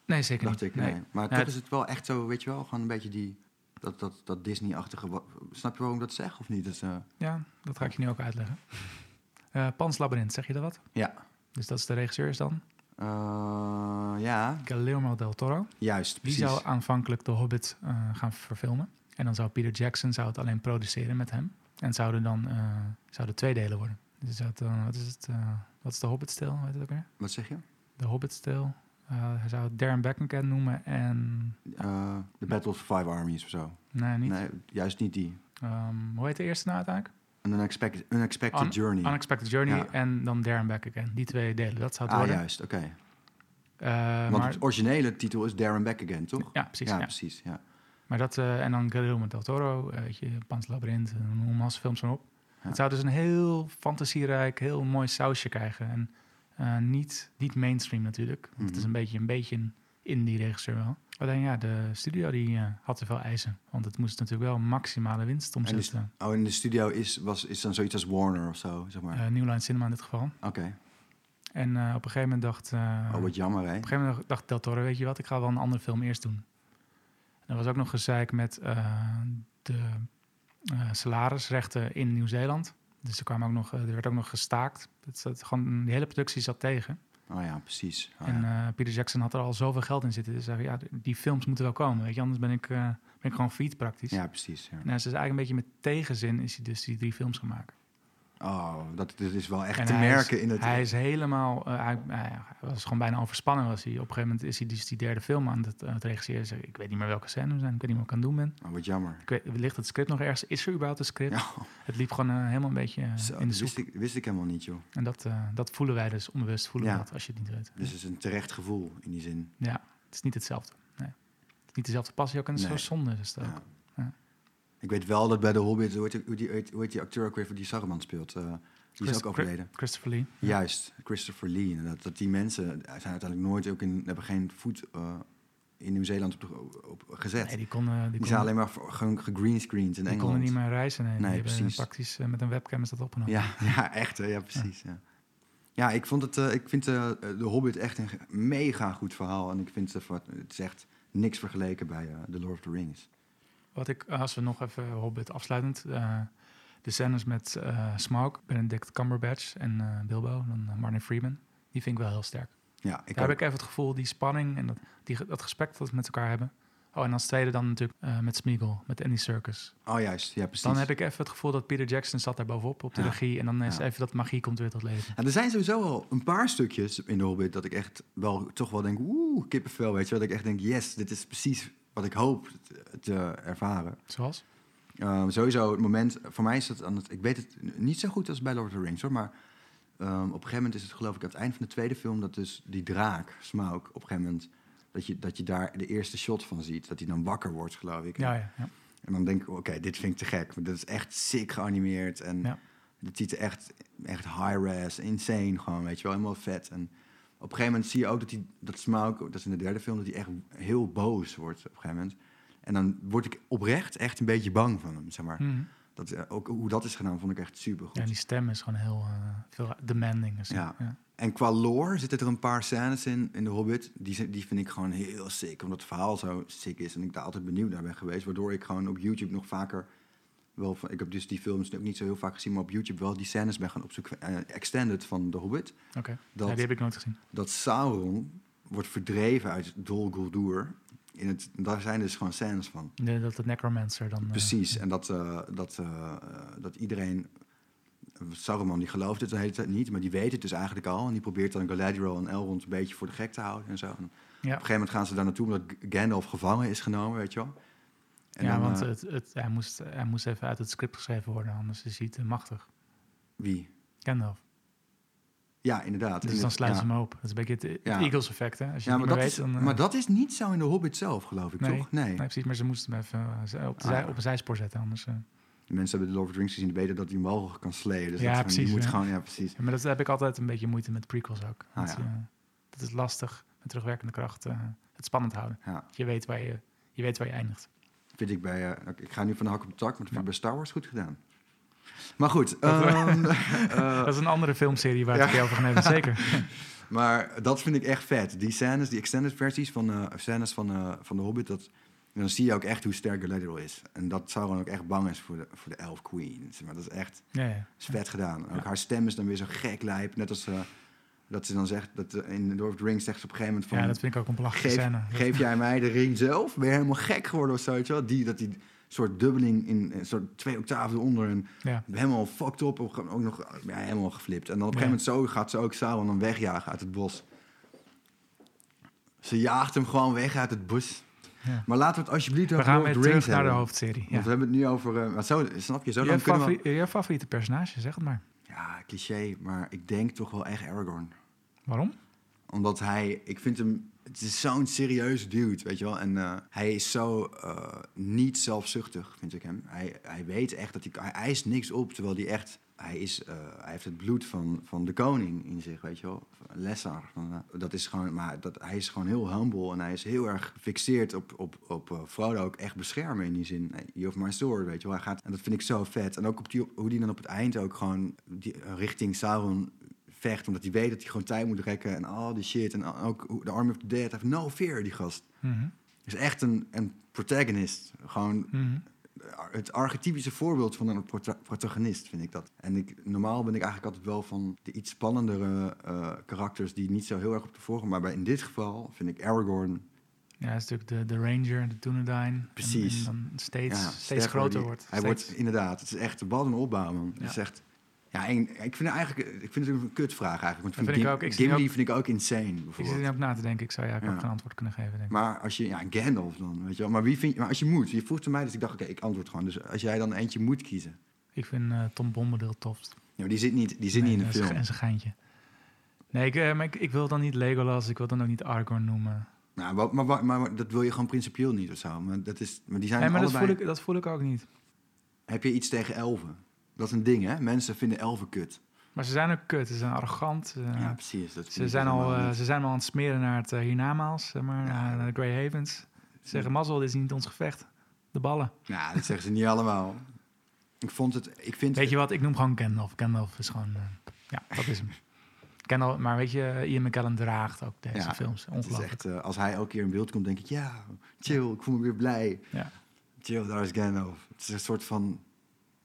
A: Nee, zeker
B: dacht
A: niet.
B: ik. Nee. Maar
A: Ja,
B: toch
A: het-
B: is het wel echt zo, weet je wel, gewoon een beetje die. Dat, dat, dat Disney-achtige. wa- Snap je waarom ik dat zeg of niet? Dat, is, eh,
A: Ja, dat ga ik je nu ook uitleggen. Eh Pans Labyrinth, zeg je dat wat?
B: Ja.
A: Dus dat is de regisseur is dan?
B: eh, ja,
A: Guillermo del Toro.
B: juist.
A: Die
B: Precies.
A: zou aanvankelijk The Hobbit eh, gaan verfilmen. En dan zou Peter Jackson zou het alleen produceren met hem. En het zouden dan eh, zouden twee delen worden. Dus zou het dan, wat is het? eh, wat is de Hobbit-stijl? Weet het ook weer?
B: Wat zeg je?
A: De Hobbit-stijl. Eh, hij zou het Darren Beckham noemen en...
B: Eh, The Battle of the Five Armies of zo.
A: Nee, niet.
B: Nee, juist niet die.
A: Ehm, hoe heet de eerste nou uiteindelijk?
B: An unexpected, unexpected
A: Un-
B: Journey.
A: Unexpected Journey
B: Ja.
A: en dan Darren Beckham. Die twee delen, dat zou het
B: ah,
A: worden.
B: juist, oké.
A: Eh,
B: Want
A: maar,
B: het originele titel is Darren Back Again, toch?
A: ja, precies. ja.
B: precies. Ja.
A: Maar dat, eh, en dan Guillermo del Toro, eh, weet je, Pans Labyrinth, en noem massa films van op.
B: Ja.
A: Het zou dus een heel fantasierijk, heel mooi sausje krijgen. En eh, niet, niet mainstream natuurlijk, want het is
B: Mhm.
A: een beetje een, beetje een indie-regisseur wel. Alleen ja, de studio die eh, had te veel eisen, want het moest natuurlijk wel maximale winst omzetten.
B: Oh, in de studio is, was, is dan zoiets als Warner of zo, zeg maar.
A: Eh, New Line Cinema in dit geval.
B: Oké.
A: En eh, op een gegeven moment dacht... eh,
B: Oh, wat jammer, hè?
A: Op een gegeven moment dacht Del Toro, weet je wat, ik ga wel een andere film eerst doen. En er was ook nog gezeik met eh, de eh, salarisrechten in Nieuw-Zeeland. Dus er, kwam ook nog, eh, er werd ook nog gestaakt. Het zat gewoon, de hele productie zat tegen.
B: Oh ja, precies. Oh,
A: en
B: ja.
A: eh, Peter Jackson had er al zoveel geld in zitten. Dus hij zei, ja, d- die films moeten wel komen. Weet je, anders ben ik, eh, ben ik gewoon failliet praktisch.
B: ja, precies. Ja.
A: En hij is dus eigenlijk een beetje met tegenzin is hij dus die drie films gaan maken.
B: Oh, dat, dit is wel echt
A: En
B: te
A: hij is-
B: merken in het...
A: Hij is helemaal, eh, hij, hij was gewoon bijna overspannen. Was hij. Op een gegeven moment is hij dus die derde film aan het, aan het regisseren. Zeg, ik weet niet meer welke scène we zijn, ik weet niet meer wat ik aan het doen ben.
B: Oh, wat jammer.
A: Ik weet, ligt het script nog ergens? Is er überhaupt een script?
B: Ja,
A: Het liep gewoon eh, helemaal een beetje eh,
B: zo, dus-
A: in de
B: dat
A: soep.
B: wist, ik, wist ik helemaal niet, joh.
A: En dat, eh, dat voelen wij dus onbewust, voelen we
B: Ja.
A: dat als je het niet weet.
B: Dus het is een terecht gevoel in die zin.
A: Het is niet hetzelfde. Nee. Het is niet dezelfde passie ook en het is
B: Nee.
A: zo zonde. dus Is het ook.
B: Ja.
A: Ja.
B: Ik weet wel dat bij de Hobbit, hoe heet die, hoe die, hoe heet die acteur ook weer die Saruman speelt? eh, die is
A: Christ-
B: ook overleden.
A: Christopher Lee.
B: Juist, Christopher Lee. inderdaad. dat die mensen eh, zijn uiteindelijk nooit ook in, hebben geen voet eh, in Nieuw-Zeeland op, de- op gezet.
A: Nee, die konden, die
B: die
A: konden-
B: zijn alleen maar voor- gewoon gegreenscreend in
A: die
B: Engeland.
A: konden niet meer reizen. Nee, die
B: Nee,
A: hebben
B: precies.
A: praktisch eh, met een webcam is dat opgenomen.
B: Ja, ja echt. Hè? Ja, precies. Ja. Ja, ik, vond het, eh, ik vind eh, The Hobbit echt een ge- mega goed verhaal. En ik vind het, eh, het is echt niks vergeleken bij eh, The Lord of the Rings.
A: Wat ik, eh, als we nog even Hobbit afsluitend. eh, de scènes met eh Smaug, Benedict Cumberbatch en eh, Bilbo, dan eh, Martin Freeman. Die vind ik wel heel sterk.
B: Ja, ik
A: Daar
B: ook.
A: heb ik even het gevoel, die spanning en dat, die, ge- dat gesprek dat we met elkaar hebben. Oh, en als tweede dan natuurlijk eh, met Smeagol, met Andy Circus.
B: Oh, juist. Ja, precies.
A: Dan heb ik even het gevoel dat Peter Jackson zat daar bovenop op de
B: Ja.
A: regie. En dan is
B: Ja.
A: even dat magie komt weer tot leven.
B: Ja, er zijn sowieso al een paar stukjes in The Hobbit dat ik echt wel toch wel denk, oeh, kippenvel, weet je. wel. Dat ik echt denk, yes, dit is precies wat ik hoop te, te ervaren.
A: Zoals?
B: Ehm, sowieso het moment, voor mij is dat aan het, ik weet het n- niet zo goed als bij Lord of the Rings hoor, maar ehm, op een gegeven moment is het geloof ik aan het eind van de tweede film dat dus die draak, Smaug, op een gegeven moment, dat je, dat je daar de eerste shot van ziet, dat hij dan wakker wordt geloof ik.
A: Ja, ja. ja.
B: En dan denk ik, oké, dit vind ik te gek, want dat is echt sick geanimeerd en
A: Ja.
B: het ziet er echt, echt high-res, insane gewoon, weet je wel, helemaal vet. En op een gegeven moment zie je ook dat, die, dat Smaug, dat is in de derde film, dat hij echt heel boos wordt op een gegeven moment. En dan word ik oprecht echt een beetje bang van hem, zeg maar.
A: Mhm.
B: Dat, eh, ook hoe dat is gedaan, vond ik echt super goed.
A: Ja, die stem is gewoon heel eh, veel demanding. Is
B: Ja.
A: ja. Ja.
B: En qua lore zitten er een paar scènes in, in The Hobbit. Die, zi- die vind ik gewoon heel sick, omdat het verhaal zo sick is. En ik daar altijd benieuwd naar ben geweest. Waardoor ik gewoon op YouTube nog vaker... Wel van, ik heb dus die films ook niet zo heel vaak gezien, maar op YouTube wel die scènes ben gaan opzoeken. eh, extended van The Hobbit.
A: Oké,
B: Dat,
A: Ja, die heb ik nooit gezien.
B: dat Sauron wordt verdreven uit Dol Guldur. In het, daar zijn dus gewoon scènes van.
A: De- dat de necromancer dan... eh,
B: Precies, en dat, eh, dat, eh, dat iedereen... Saruman die gelooft het de hele tijd niet, maar die weet het dus eigenlijk al. En die probeert dan Galadriel en Elrond een beetje voor de gek te houden en zo. En Op een gegeven moment gaan ze daar naartoe omdat G- Gandalf gevangen is genomen, weet je wel. En
A: ja,
B: dan,
A: want
B: eh,
A: het, het, hij, moest, hij moest even uit het script geschreven worden, anders is hij te machtig.
B: wie?
A: Gandalf.
B: Ja, inderdaad.
A: Dus
B: In
A: dan
B: het-
A: sluiten
B: ja.
A: ze hem op. Dat is een beetje het, het
B: Ja.
A: Eagles effect, hè? Als je
B: Ja,
A: het
B: maar
A: niet
B: dat,
A: meer
B: is,
A: weet, dan... eh,
B: maar dat is niet zo in de Hobbit zelf, geloof ik,
A: Nee.
B: toch? Nee.
A: Nee, precies, maar ze moesten hem even eh, zij- op, de
B: Ah.
A: zij, op een zijspoor zetten, anders... eh.
B: De mensen hebben de Lord of the Rings gezien, die weten dat hij hem wel kan slayen. Dus
A: Ja,
B: dat is gewoon-
A: precies,
B: Je moet
A: ja.
B: gewoon, ja, precies.
A: Ja, maar dat heb ik altijd een beetje moeite met prequels ook.
B: Ah,
A: dat,
B: ja.
A: eh, dat is lastig met terugwerkende kracht. eh, het spannend houden.
B: Ja.
A: Je, weet waar je, je weet waar je eindigt.
B: Vind ik bij... eh, ik ga nu van de hak op de tak, maar dat vind ik bij Star Wars goed gedaan. Maar goed.
A: Dat-
B: ehm, eh,
A: dat is een andere filmserie waar
B: ja.
A: ik je over neem, zeker.
B: Maar dat vind ik echt vet. Die scènes, die extended versies van, eh, scènes van, eh, van The Hobbit, dat, dan zie je ook echt hoe sterk Galadriel is. En dat Sauron ook echt bang is voor de, voor de Elf Queen. zeg Maar dat is echt
A: Ja, ja.
B: is vet gedaan. En Ook
A: Ja.
B: haar stem is dan weer zo gek lijp. Net als eh, dat ze dan zegt, dat eh, in Lord of the Rings zegt ze op een gegeven moment van...
A: ja, dat vind ik ook een belachelijke
B: geef,
A: scène.
B: geef jij mij de ring zelf? Ben je helemaal gek geworden of zo? weet je wel? Die, dat die soort dubbeling in een soort twee octaven eronder en
A: Ja.
B: helemaal fucked op. Ook ook nog ja, helemaal geflipt. En dan op een
A: Ja.
B: gegeven moment zo gaat ze ook Sauron dan wegjagen uit het bos. Ze jaagt hem gewoon weg uit het bos.
A: Ja.
B: Maar laten we het alsjeblieft
A: We
B: over
A: gaan
B: Lord
A: weer
B: of the
A: terug
B: Rings
A: naar de
B: hebben.
A: hoofdserie. Ja.
B: Want we hebben het nu over... eh, maar zo, snap je? Zo
A: Je,
B: dan kunnen we...
A: favori- je favoriete personage, zeg het maar.
B: Ja, cliché, maar ik denk toch wel echt Aragorn.
A: Waarom?
B: Omdat hij, ik vind hem, het is zo'n serieus dude, weet je wel. En eh, hij is zo eh, niet zelfzuchtig, vind ik hem. Hij, hij weet echt dat hij, hij eist niks op, terwijl hij echt, hij, is, eh, hij heeft het bloed van, van de koning in zich, weet je wel. Van Lessar. Van, eh, dat is gewoon, maar dat, hij is gewoon heel humble en hij is heel erg gefixeerd op, op, op eh, Frodo ook echt beschermen in die zin. Hey, You have my sword, weet je wel. Hij gaat, en dat vind ik zo vet. En ook op die, hoe die dan op het eind ook gewoon die, eh, richting Sauron vecht. Omdat hij weet dat hij gewoon tijd moet rekken en al die shit. En ook hoe- de Army of the Dead. Hij heeft no fear, die gast.
A: Mhm,
B: Hij is echt een, een protagonist. Gewoon
A: mhm.
B: het archetypische voorbeeld van een prota- protagonist, vind ik dat. En ik, normaal ben ik eigenlijk altijd wel van de iets spannendere eh, karakters... die niet zo heel erg op de voorgrond... maar bij, in dit geval vind ik Aragorn...
A: Ja, hij is natuurlijk de, de Ranger, de Dunedain. en-
B: Precies.
A: En, dan steeds,
B: ja,
A: steeds
B: sterker
A: groter
B: die-
A: wordt.
B: Hij
A: Steeds-
B: wordt inderdaad... Het is echt de bal en opbouw, man.
A: Ja.
B: Het is echt... Ja, en ik vind, het eigenlijk, ik vind het een kutvraag eigenlijk. Want
A: Dat
B: vind
A: vind ik
B: Gim-
A: ook. Ik zie
B: Gimli
A: ook-
B: vind ik ook insane,
A: Ik zit
B: bijvoorbeeld.
A: er nu op na te denken. Ik zou ja, ik ook
B: Ja.
A: geen antwoord kunnen geven, denk ik.
B: Maar als je, ja, Gandalf dan, weet je wel. Maar, wie vind je, maar als je moet, je vroeg het mij, dus ik dacht, oké, ik antwoord gewoon. Dus als jij dan eentje moet kiezen.
A: Ik vind eh, Tom Bombadil tofst.
B: Ja, maar die zit niet, die zit
A: Nee,
B: niet in de
A: en
B: film.
A: zijn- En zijn geintje. Nee, ik, eh, maar ik, ik wil dan niet Legolas, ik wil dan ook niet Aragorn noemen.
B: Nou, wa- maar, wa- maar, dat wil je gewoon principieel niet of zo. Maar, dat is, maar die zijn
A: Nee, maar dat
B: allebei...
A: voel, ik, dat voel ik ook niet.
B: Heb je iets tegen elfen? Dat is een ding, hè? Mensen vinden elfen kut.
A: Maar ze zijn ook kut, ze zijn arrogant. eh,
B: Ja, precies. Dat vind
A: ze,
B: ik
A: zijn
B: dus
A: al,
B: helemaal
A: eh,
B: niet.
A: ze zijn al aan het smeren naar het eh, hiernamaals, zeg maar,
B: Ja.
A: eh, naar de Grey Havens. Ze zeggen, mazzel, dit is niet ons gevecht. De ballen.
B: Nou, dat zeggen ze niet allemaal. Ik vond het... Ik vind
A: Weet je wat, ik noem gewoon Gandalf. Gandalf is gewoon, eh, ja, dat is hem. Gandalf, maar weet je, Ian McKellen draagt ook deze
B: Ja,
A: films.
B: het is
A: Ongelooflijk.
B: echt, eh, als hij elke keer in beeld komt, denk ik, ja, chill, ik voel me weer blij.
A: Ja.
B: Chill, daar is Gandalf. Het is een soort van,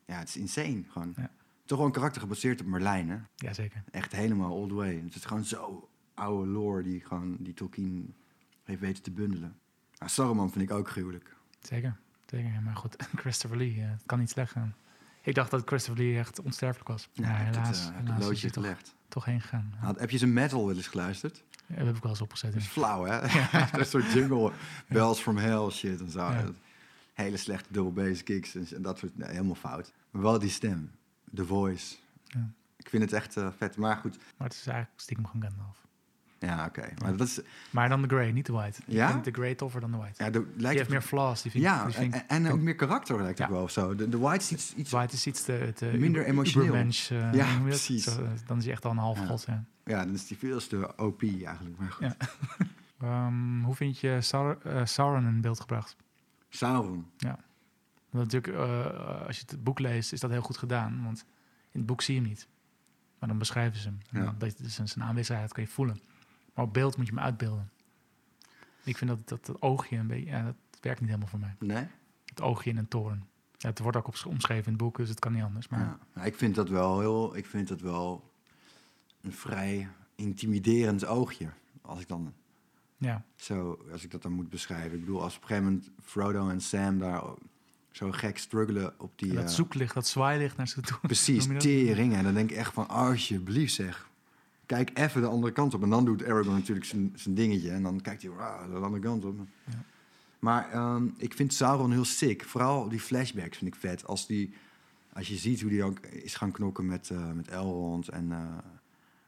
B: ja, het is insane gewoon.
A: Ja.
B: Toch wel een karakter gebaseerd op Merlijn, hè?
A: Jazeker.
B: Echt helemaal all the way. Het is gewoon zo oude lore die gewoon die Tolkien heeft weten te bundelen. Nou, Saruman vind ik ook gruwelijk.
A: Zeker, zeker. Maar goed, Christopher Lee, eh, het kan niet slecht gaan. Ik dacht dat Christopher Lee echt onsterfelijk was. Ja,
B: ik heb
A: helaas,
B: het, eh, heb het
A: helaas is
B: loodje
A: hij
B: Ah.
A: toch,
B: gelegd.
A: toch heen gegaan. Ja,
B: Had- heb je zijn metal wel eens geluisterd?
A: dat heb ik wel eens opgezet.
B: Dat
A: Dus.
B: is flauw, hè? dat soort jungle bells from hell shit en zo.
A: Ja.
B: Hele slechte double bass kicks en, en dat soort... nee, helemaal fout. Maar wel die stem. The voice.
A: Ja.
B: Ik vind het echt eh, vet. Maar goed,
A: Maar het is eigenlijk stiekem gewoon Gandalf.
B: ja, oké. Maar dat is...
A: Maar dan de Grey, niet de White.
B: Ja?
A: Ik vind de Grey toffer dan de White.
B: Ja, dat
A: die
B: lijkt
A: heeft meer flaws. Die vind,
B: ja eh,
A: die vind,
B: en, en ook meer karakter lijkt het
A: Ja.
B: wel of zo. De, de white is iets... iets
A: White is iets te, te
B: eh, Minder
A: uber-
B: emotioneel.
A: ubermensch, eh,
B: Ja,
A: noem je dat?
B: precies.
A: Zo, eh, dan is hij echt al een half
B: Ja.
A: god. Ja.
B: Ja, dan is die veel te OP eigenlijk. Maar goed.
A: Ja. Ehm, hoe vind je Saur- eh, Sauron in beeld gebracht?
B: Sauron.
A: Want natuurlijk, eh, als je het boek leest, is dat heel goed gedaan. Want in het boek zie je hem niet. Maar dan beschrijven ze hem. En
B: Ja.
A: dan- dat, dus zijn zijn aanwezigheid kan je voelen. Maar op beeld moet je hem uitbeelden. Ik vind dat dat, dat oogje een beetje... Ja, dat werkt niet helemaal voor mij.
B: Nee?
A: Het oogje in een toren. Ja, het wordt ook op, omschreven in het boek, dus het kan niet anders. Maar
B: Ja. Nou, Ik vind dat wel heel... Ik vind dat wel een vrij intimiderend oogje. Als ik dan
A: ja,
B: zo, als ik dat dan moet beschrijven. Ik bedoel, als op een gegeven moment Frodo en Sam daar o- zo gek struggelen op die...
A: en dat
B: eh,
A: zoeklicht, dat zwaailicht naar ze toe.
B: precies,
A: noem je dat?
B: tering. En dan denk ik echt van, alsjeblieft zeg. kijk even de andere kant op. En dan doet Aragorn natuurlijk zijn zijn dingetje. En dan kijkt hij "Wauw, de andere kant op. Maar ehm, ik vind Sauron heel sick. Vooral die flashbacks vind ik vet. Als, die, als je ziet hoe die ook is gaan knokken met, eh, met Elrond en... eh,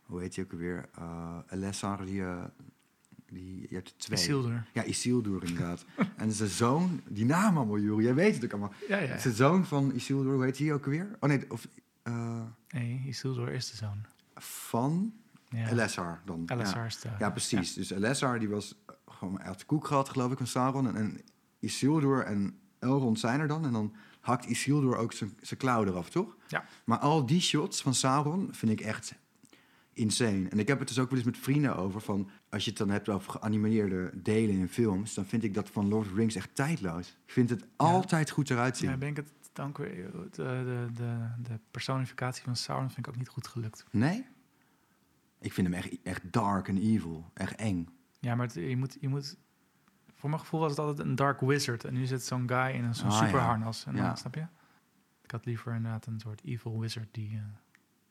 B: hoe heet hij ook alweer? Eh Elessar, die, eh, die... Je hebt er twee.
A: Isildur.
B: Ja, Isildur inderdaad. en zijn zoon, die naam allemaal, Juri. Jij weet het ook allemaal.
A: Ja, ja.
B: Het is de zoon van Isildur, hoe heet hij ook weer? Oh nee, of, eh,
A: Nee, Isildur is de zoon.
B: van
A: Ja.
B: Elessar dan.
A: LSR
B: Ja.
A: is de...
B: ja, precies. Dus Elessar die was eh, gewoon uit de koek gehad, geloof ik, van Sauron. En, en Isildur en Elrond zijn er dan. En dan hakt Isildur ook zijn zijn klauw eraf, toch?
A: Ja.
B: Maar al die shots van Sauron vind ik echt insane. En ik heb het dus ook wel eens met vrienden over. Van, als je het dan hebt over geanimeerde delen in films... dan vind ik dat van Lord of the Rings echt tijdloos. Ik vind het altijd goed eruit zien.
A: Ja, ben ik het dank weer. eh, De, de, de, de personificatie van Sauron vind ik ook niet goed gelukt.
B: Nee? Ik vind hem echt, echt dark en evil. Echt eng.
A: Ja, maar het- je, moet, je moet. Voor mijn gevoel was het altijd een Dark Wizard. En nu zit zo'n guy in een- zo'n
B: Ah, ja.
A: superharnas. En dan,
B: Ja.
A: Snap je? Ik had liever inderdaad een soort evil wizard die.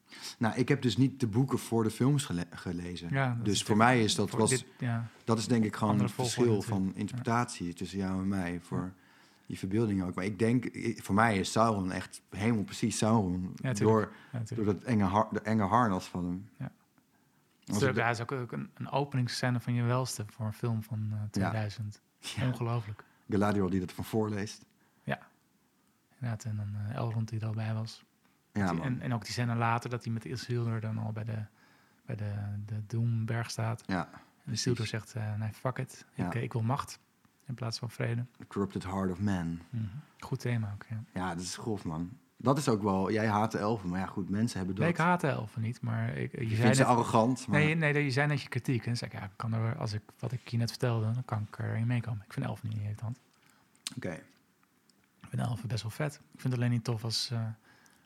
A: eh,
B: Nou, ik heb dus niet de boeken voor de films gele- gelezen.
A: ja, dat
B: dus voor mij is dat,
A: voor
B: was,
A: dit- ja.
B: dat is denk ik gewoon
A: Andere
B: het verschil
A: volgorde
B: van interpretatie tussen jou en mij. Voor die verbeelding ook. Maar ik denk, i- voor mij is Sauron echt helemaal precies Sauron.
A: Ja, tuurlijk.
B: door,
A: Ja, natuurlijk.
B: door dat enge, har- de enge harnas van hem.
A: Ja.
B: Als
A: Tuurlijk,
B: ik-
A: ja, het is ook, ook een, een openingsscène van je welste voor een film van eh, 2000.
B: ja,
A: Ongelooflijk.
B: Galadriel die dat van voorleest.
A: Inderdaad, en dan eh, Elrond die er al bij was.
B: Ja,
A: Die-
B: man.
A: en, en ook die scène later dat hij met Isildur dan al bij de, bij de, de Doemberg staat.
B: ja.
A: En Isildur zegt, eh, nee, fuck it.
B: Ja.
A: Ik, eh, ik wil macht in plaats van vrede.
B: The Corrupted Heart of Man.
A: Mhm. Goed thema ook, ja.
B: Ja, dat is grof, man. Dat is ook wel... Jij haat de elfen, maar ja, goed, mensen hebben dat.
A: Nee, ik haat de elfen niet, maar ik, eh, je,
B: Je
A: zei
B: vindt ze
A: net,
B: arrogant, maar...
A: nee, nee, je zei net je kritiek. En dan zei ik, ja, ik kan er, als ik wat ik je net vertelde, dan kan ik erin meekomen. Ik vind elfen niet irritant.
B: Oké,
A: Eh, Ik vind elfen best wel vet. Ik vind het alleen niet tof als eh,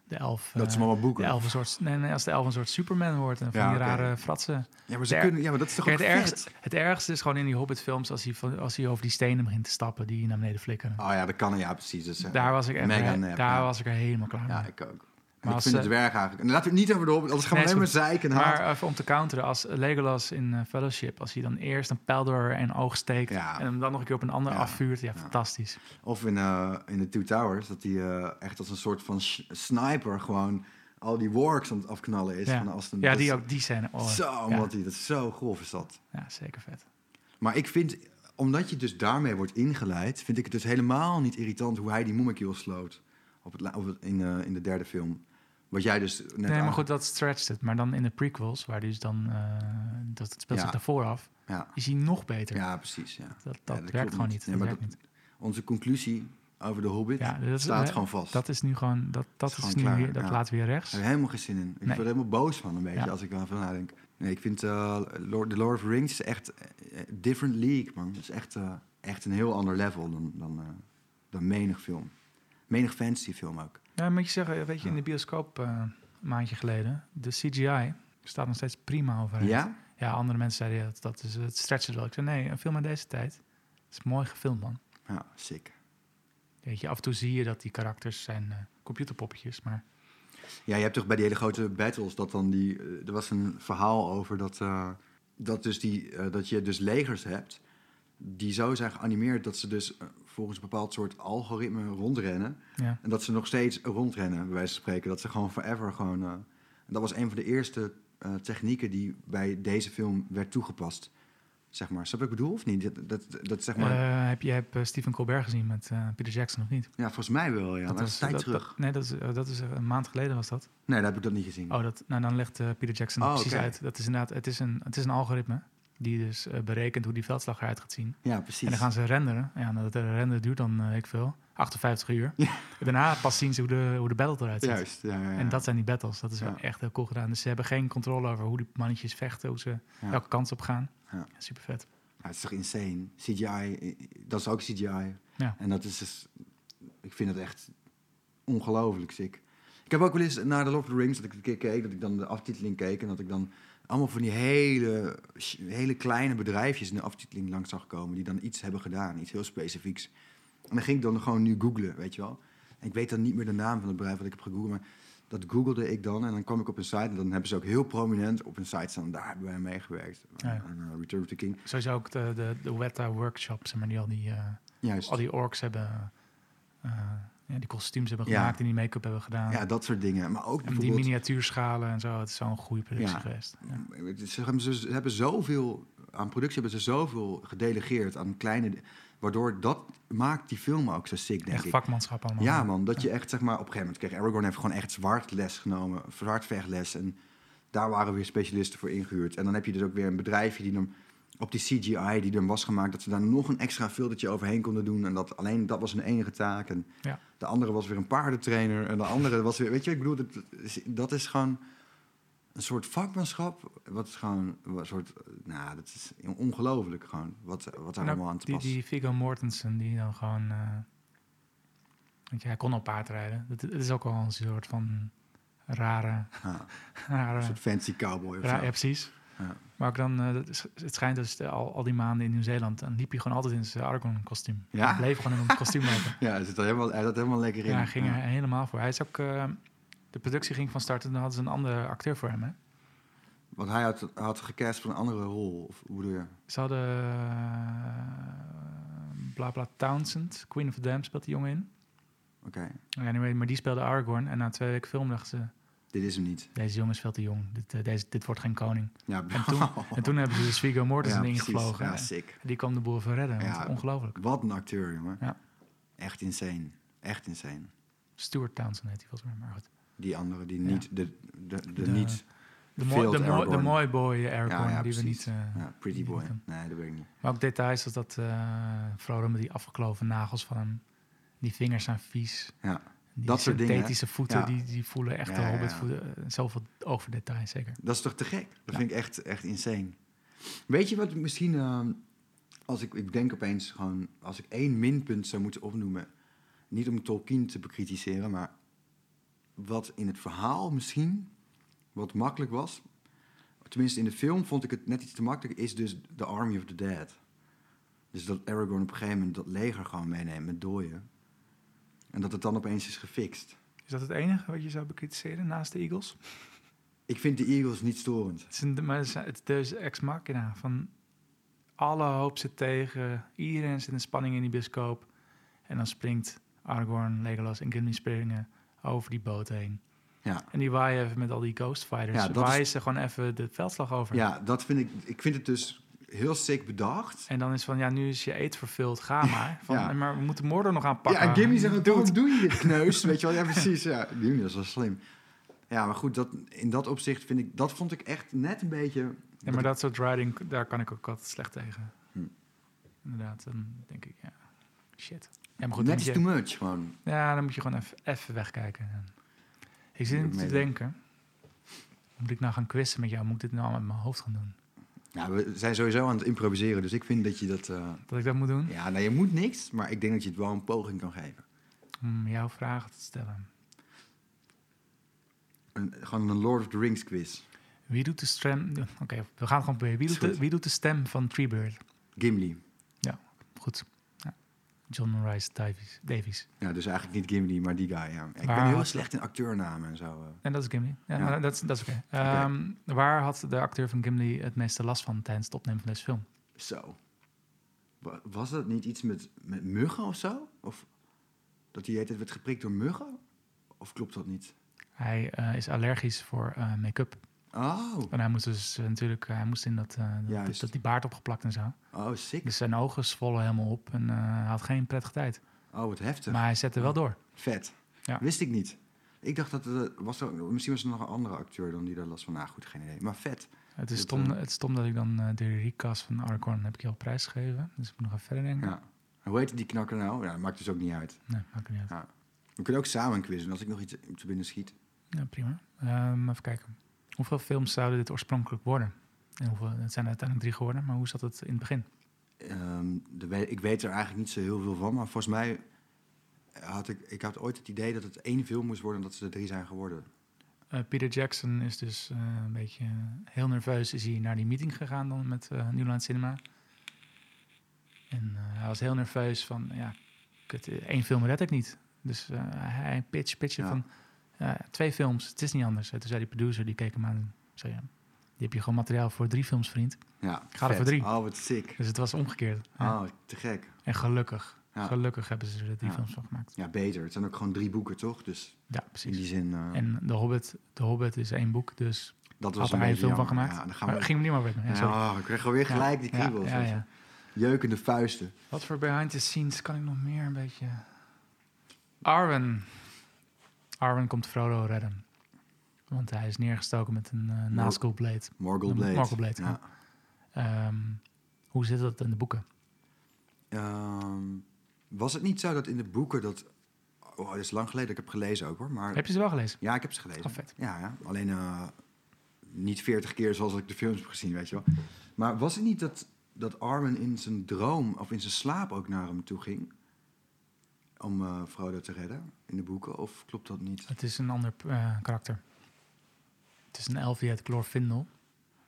A: de elf...
B: dat
A: eh,
B: is maar wat
A: de
B: boeken.
A: elf een soort, nee, nee, als de elf een soort Superman wordt en van
B: Ja,
A: die
B: oké.
A: rare fratsen.
B: Ja, maar ze
A: Der-
B: kunnen... Ja, maar dat is toch ook
A: Kijk, het,
B: vet?
A: ergste, het ergste is gewoon in die Hobbit-films als hij, van- als hij over die stenen begint te stappen die naar beneden flikkeren.
B: Oh ja, dat kan. Ja, precies. Dus, eh,
A: daar was ik, echt,
B: mega nep,
A: daar
B: ja.
A: was ik er helemaal klaar
B: Ja,
A: mee.
B: ik ook. Maar
A: Maar
B: ik
A: als
B: vind
A: ze-
B: het dwerg eigenlijk... En laten we het niet over de hobbit, anders gaan we
A: Nee,
B: alleen maar
A: is
B: zeiken en haat.
A: Maar even om te counteren, als Legolas in eh, Fellowship, als hij dan eerst een pijl door een oog steekt
B: Ja.
A: en hem dan nog een keer op een ander
B: Ja.
A: afvuurt, ja, fantastisch.
B: Of in, eh, in de Two Towers, dat hij eh, echt als een soort van sh- sniper gewoon al die wargs aan het afknallen is.
A: Ja,
B: Van als een,
A: ja
B: dat
A: die
B: is
A: ook, die scène. Oh,
B: Zo,
A: ja.
B: wat die, dat is zo grof is dat.
A: ja, zeker vet.
B: Maar ik vind, omdat je dus daarmee wordt ingeleid, vind ik het dus helemaal niet irritant hoe hij die Moemekiel sloot op het, la- op het- in, eh, in de derde film. Wat jij dus net
A: nee, maar
B: aange-
A: goed, dat stretcht het. Maar dan in de prequels, waar dus dan, eh, dat het speelt
B: Ja.
A: zich daarvoor af,
B: Ja,
A: is hij nog beter.
B: ja, precies. Ja.
A: Dat,
B: Ja,
A: dat,
B: dat klopt
A: werkt gewoon
B: niet.
A: niet.
B: Nee,
A: dat
B: maar
A: werkt niet.
B: Onze conclusie over de Hobbit
A: Ja, dat is-
B: staat
A: hè,
B: gewoon vast.
A: Dat is nu gewoon, dat, dat
B: Is
A: is,
B: gewoon
A: nu
B: klaar,
A: weer, dat
B: ja.
A: laat weer rechts.
B: Daar heb ik helemaal geen zin in. Ik
A: Nee.
B: word er helemaal boos van een beetje
A: Ja.
B: als ik daarvan nadenk. Nee, ik vind eh, Lord, The Lord of the Rings is echt eh, different league, man. Het is echt, eh, echt een heel ander level dan, dan, eh, dan menig film. Menig fantasy film ook.
A: Ja, moet je zeggen, weet je, in de bioscoop eh, een maandje geleden, de CGI staat nog steeds prima overheen.
B: Ja?
A: Oh, Ja, andere mensen zeiden, ja, dat, dat is het stretchen wel. Ik zei, nee, een film uit deze tijd, het is mooi gefilmd, man.
B: Ja, sick.
A: Weet je, af en toe zie je dat die karakters zijn eh, computerpoppetjes, maar
B: Ja, je hebt toch bij die hele grote battles dat dan die... eh, er was een verhaal over dat, eh, dat, dus die, eh, dat je dus legers hebt... die zo zijn geanimeerd dat ze dus eh, volgens een bepaald soort algoritme rondrennen...
A: ja.
B: En dat ze nog steeds rondrennen, bij wijze van spreken. Dat ze gewoon forever gewoon... eh, en dat was een van de eerste eh, technieken die bij deze film werd toegepast. Zeg maar, snap je wat ik bedoel of niet? Dat, dat, dat zeg maar...
A: Eh, heb je hebt Stephen Colbert gezien met eh, Peter Jackson of niet?
B: ja, volgens mij wel, ja. maar dat is tijd
A: dat-
B: terug.
A: dat- nee, dat is, eh, dat is eh, een maand geleden was dat.
B: Nee, dat heb ik dat niet gezien.
A: Oh, dat, nou dan legt eh, Peter Jackson
B: Oh,
A: het precies
B: oké.
A: uit. Dat is inderdaad, het is een, het is een algoritme die dus eh, berekent hoe die veldslag eruit gaat zien.
B: ja, precies.
A: En dan gaan ze renderen. Ja, nou, dat eh, renderen duurt dan, eh, weet ik veel, 58 uur.
B: Ja.
A: En daarna pas zien ze hoe de, hoe de battle eruit ziet.
B: Juist, ja, ja, ja.
A: En dat zijn die battles. Dat is wel
B: Ja.
A: echt heel cool gedaan. Dus ze hebben geen controle over hoe die mannetjes vechten, hoe ze
B: Ja.
A: welke kans op gaan.
B: Ja.
A: Super vet.
B: Ja, het is toch insane? CGI, eh, dat is ook CGI.
A: Ja.
B: En dat is dus... Ik vind het echt ongelooflijk sick. Ik heb ook wel eens naar The Lord of the Rings, dat ik een keer keek... dat ik dan de aftiteling keek en dat ik dan allemaal van die hele, sh- hele kleine bedrijfjes... in de aftiteling langs zag komen die dan iets hebben gedaan. Iets heel specifieks. En dan ging ik dan gewoon nu googlen, weet je wel. En ik weet dan niet meer de naam van het bedrijf wat ik heb gegoogeld... maar Dat googelde ik dan en dan kwam ik op een site. En dan hebben ze ook heel prominent op een site staan. Daar hebben wij aan meegewerkt.
A: Ja.
B: Aan, eh, Return of the King.
A: Sowieso ook de, de, de Weta workshops, zeg maar, die al die, eh,
B: Juist.
A: al die orks hebben, eh, ja, die kostuums hebben
B: Ja.
A: gemaakt en die make-up hebben gedaan.
B: Ja, dat soort dingen. Maar ook
A: en die
B: bijvoorbeeld...
A: miniatuurschalen en zo, het is zo'n goede productie
B: Ja.
A: geweest. Ja.
B: Ze hebben, ze ze hebben zoveel aan productie hebben ze zoveel gedelegeerd aan kleine, waardoor dat maakt die film ook zo sick denk
A: Echt
B: ik.
A: vakmanschap allemaal.
B: Ja man, dat je echt zeg maar op een gegeven moment kreeg Aragorn heeft gewoon echt zwart les genomen, zwart vechtles en daar waren weer specialisten voor ingehuurd. En dan heb je dus ook weer een bedrijfje die hem op die CGI die er was gemaakt, dat ze daar nog een extra filtertje overheen konden doen en dat alleen dat was hun enige taak en
A: Ja.
B: de andere was weer een paardentrainer en de andere was weer, weet je, ik bedoel, dat is, dat is gewoon een soort vakmanschap, wat is gewoon wat een soort, eh, nou, dat is ongelooflijk gewoon, wat, wat daar
A: En ook
B: allemaal aan
A: Nou,
B: te
A: die,
B: passen.
A: die Viggo Mortensen, die dan gewoon... eh, want ja, hij kon op paard rijden. Dat, dat is ook al een soort van rare...
B: Ja, een
A: rare
B: soort fancy cowboy of
A: Ja,
B: zo.
A: ja, precies.
B: Ja.
A: Maar ook dan, eh, dat is- het schijnt dus de- al, al die maanden in Nieuw-Zeeland, dan liep hij gewoon altijd in zijn Argon-kostuum.
B: Ja?
A: Hij bleef gewoon in een kostuum lopen.
B: Ja, hij zat er helemaal, hij zat helemaal lekker in.
A: Ja, hij ging er helemaal voor. Hij is ook, eh, de productie ging van start en dan hadden ze een andere acteur voor hem. Hè?
B: Want hij had, had gecast voor een andere rol, of hoe bedoel je?
A: Ze hadden eh, Blabla Townsend, Queen of the Dam speelt die jongen in.
B: Oké,
A: Anyway, maar die speelde Aragorn en na twee weken film dachten ze,
B: dit is hem niet.
A: deze jongen is veel te jong, dit, eh, deze, dit wordt geen koning.
B: Ja,
A: En toen, en toen hebben ze dus Viggo Mortensen
B: precies.
A: ingevlogen.
B: Ja,
A: hè.
B: sick.
A: die kwam de boel verredden, want
B: Ja.
A: ongelooflijk.
B: Wat een acteur, jongen.
A: Ja.
B: Echt insane. Echt insane.
A: Stuart Townsend heet hij volgens mij, maar goed.
B: Die andere, die
A: Ja.
B: niet, de, de, de,
A: De-
B: niet,
A: De, mooi,
B: Field
A: de, mooi, de
B: Aragorn.
A: mooi boy Aragorn,
B: Ja, ja,
A: die we
B: precies.
A: niet... eh,
B: ja, pretty
A: die
B: boy.
A: niet hem.
B: Nee, dat weet ik niet.
A: Maar ook details als dat eh Frodo met die afgekloven nagels van hem... Die vingers zijn vies.
B: Ja,
A: Die
B: dat soort dingen, hè?
A: synthetische voeten,
B: Ja.
A: die, die voelen echt
B: Ja,
A: de
B: ja, ja.
A: hobbitvoeten. Eh, Zoveel oog voor detail, zeker.
B: Dat is toch te gek? Dat
A: Ja.
B: vind ik echt, echt insane. Weet je wat misschien... ehm, als ik, ik denk opeens gewoon... Als ik één minpunt zou moeten opnoemen... Niet om Tolkien te bekritiseren, maar... Wat in het verhaal misschien... Wat makkelijk was... Tenminste, in de film vond ik het net iets te makkelijk... Is dus The Army of the Dead. Dus dat Aragorn op een gegeven moment dat leger gewoon meeneemt met dooien. En dat het dan opeens is gefixt.
A: Is dat het enige wat je zou bekritiseren naast de Eagles?
B: Ik vind de Eagles niet storend.
A: Het is, een, maar het is- het is Deus ex machina. Van alle hoop zit tegen. Iedereen zit in spanning in die bioscoop. En dan springt Aragorn, Legolas en Gimli springen over die boot heen.
B: Ja.
A: En die waaien even met al die ghost fighters.
B: Ja,
A: Ja,
B: dat
A: waaien ze gewoon even de veldslag over.
B: Ja, dat vind ik. Ik vind het dus heel sick bedacht.
A: En dan is van, ja, nu is je eet vervuld, ga maar. Van,
B: Ja.
A: Maar we moeten Mordor nog aanpakken.
B: Ja, en Gimli zegt,
A: Doe
B: waarom
A: het.
B: doe je dit, kneus? Weet je wel, ja, precies. Ja, Gimli was wel slim. Ja, maar goed, dat, in dat opzicht vind ik... Dat vond ik echt net een beetje...
A: Ja, maar dat soort riding, daar kan ik ook altijd slecht tegen.
B: Hm.
A: Inderdaad, dan denk ik, ja, shit. Ja, maar goed, dan
B: net
A: moet
B: is
A: je-
B: too much, gewoon.
A: Ja, dan moet je gewoon even, even wegkijken. Ik zit
B: Moet
A: nu
B: ik
A: te
B: meedoen.
A: denken. Moet ik nou gaan quizzen met jou? Moet ik dit nou allemaal met mijn hoofd gaan doen?
B: Ja, we zijn sowieso aan het improviseren, dus ik vind dat je dat... eh,
A: Dat ik dat moet doen?
B: ja, nou, je moet niks, maar ik denk dat je het wel een poging kan geven.
A: Om jou vragen te stellen.
B: Een, gewoon een Lord of the Rings quiz.
A: Wie doet de stem... Oké, we gaan het gewoon proberen. Wie
B: Is
A: doet, de,
B: goed.
A: wie doet de stem van Treebird?
B: Gimli.
A: Goed. Ja. John Rice Davies. Davies.
B: Ja, dus eigenlijk niet Gimli, maar die guy, ja. Ik ben
A: Maar-
B: heel slecht in acteurnamen en zo. eh.
A: En dat is Gimli. Ja,
B: Ja.
A: maar Dat, is- dat is oké.
B: Oké.
A: Ehm, Waar had de acteur van Gimli het meeste last van tijdens het opnemen van deze film?
B: Zo. Wa- Was dat niet iets met, met muggen of zo? Of dat hij het werd geprikt door muggen? Of klopt dat niet?
A: Hij eh, is allergisch voor eh, make-up.
B: Oh,
A: En hij moest dus eh, natuurlijk... Hij moest in dat, eh, dat-
B: Juist.
A: dat die baard opgeplakt en zo.
B: oh, sick.
A: Dus zijn ogen zwollen helemaal op en eh, hij had geen prettige tijd.
B: Oh, wat heftig.
A: Maar hij zette wel door.
B: Vet.
A: Ja.
B: Wist ik niet. Ik dacht dat het... Was er, misschien was er nog een andere acteur dan die daar last van. Nou goed, geen idee. Maar vet.
A: Het is
B: Dat,
A: stom,
B: eh,
A: het is stom dat ik dan eh, de recast van Aragorn heb ik je al prijs gegeven. Dus ik moet nog even verder denken.
B: Ja. Hoe heet die knakker nou? Ja, maakt dus ook niet uit.
A: Nee, maakt niet uit.
B: We kunnen ook samen een quiz doen als ik nog iets te binnen schiet.
A: Ja, prima. Ehm, even kijken. Hoeveel films zouden dit oorspronkelijk worden? En hoeveel, het zijn er uiteindelijk drie geworden, maar hoe zat het in het begin?
B: Ehm, de we- ik weet er eigenlijk niet zo heel veel van. Maar volgens mij had ik... Ik had ooit het idee dat het één film moest worden... en dat ze er drie zijn geworden.
A: Eh, Peter Jackson is dus eh, een beetje heel nerveus. Is hij naar die meeting gegaan dan met eh Newland Cinema. En eh, hij was heel nerveus van, ja, kut, eh, één film red ik niet. Dus eh, hij pitch, pitchen
B: Ja.
A: van, Ja, twee films, het is niet anders. En toen zei die producer, die keek hem aan en zei... Ja, die heb je gewoon materiaal voor drie films, vriend.
B: Ja,
A: Ik ga er
B: vet.
A: voor drie.
B: Oh, wat sick.
A: Dus het was omgekeerd. Ja.
B: Oh, te gek.
A: En gelukkig,
B: Ja.
A: gelukkig hebben ze er drie
B: Ja.
A: films van gemaakt.
B: Ja, beter. Het zijn ook gewoon drie boeken, toch? Dus
A: Ja,
B: in
A: precies.
B: die zin, eh,
A: En The Hobbit, The Hobbit is één boek, dus
B: dat
A: had
B: was
A: er
B: een
A: één
B: beetje
A: film van
B: jammer.
A: gemaakt.
B: Ja, dan gaan
A: maar
B: we...
A: ging hem niet meer weg mee. Ja, sorry.
B: Ah, Ja, oh, ik kreeg alweer gelijk die
A: Ja,
B: kriebels.
A: ja,
B: weet je.
A: ja.
B: Jeukende vuisten.
A: Wat voor behind the scenes kan ik nog meer een beetje... Arwen. Arwen komt Frodo redden. Want hij is neergestoken met een eh Nazgul-blade.
B: Morgul
A: Een
B: Blade.
A: Morgul Blade,
B: Ja.
A: Ehm, hoe zit dat in de boeken?
B: Ehm, was het niet zo dat in de boeken dat... Oh, dat is lang geleden dat ik heb gelezen ook, hoor. Maar
A: Heb je ze wel gelezen?
B: ja, ik heb ze gelezen.
A: Oh, vet.
B: Ja, ja. alleen eh, niet veertig keer zoals ik de films heb gezien, weet je wel. Maar was het niet dat, dat Arwen in zijn droom of in zijn slaap ook naar hem toe ging? Om eh, Frodo te redden in de boeken? Of klopt dat niet?
A: Het is een ander eh, karakter. Het is een elf die heet Glorfindel.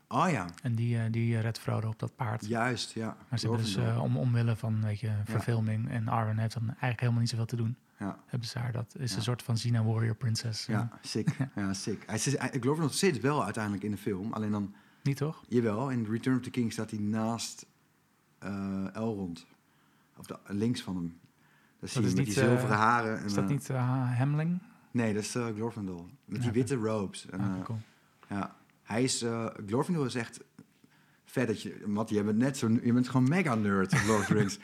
B: Oh ja,
A: En die, eh, die redt Frodo op dat paard.
B: juist, ja.
A: Maar ze hebben dus
B: Glorfindel.
A: eh, om, omwille van weet je, verfilming en Arwen heeft dan eigenlijk helemaal niet zoveel te doen.
B: Ja.
A: Hebben ze haar dat is
B: Ja.
A: een soort van Xena Warrior Princess. eh,
B: Ja, sick. ja, sick. Hij zit, hij, Glorfindel zit wel uiteindelijk in de film. Alleen dan,
A: Niet toch?
B: jawel, in Return of the King staat hij naast eh, Elrond. Op de, links van hem. Daar zie je
A: is
B: hem met
A: niet,
B: die zilveren
A: eh,
B: haren. En,
A: Is dat
B: eh,
A: niet eh, Hemling?
B: Nee, dat is eh, Glorfindel. Met
A: Ja,
B: die witte robes. En,
A: Ah,
B: eh,
A: cool.
B: ja. Hij is, eh, Glorfindel is echt vet dat je, Matt, je bent net zo, je bent gewoon mega nerd op Lord of the Rings.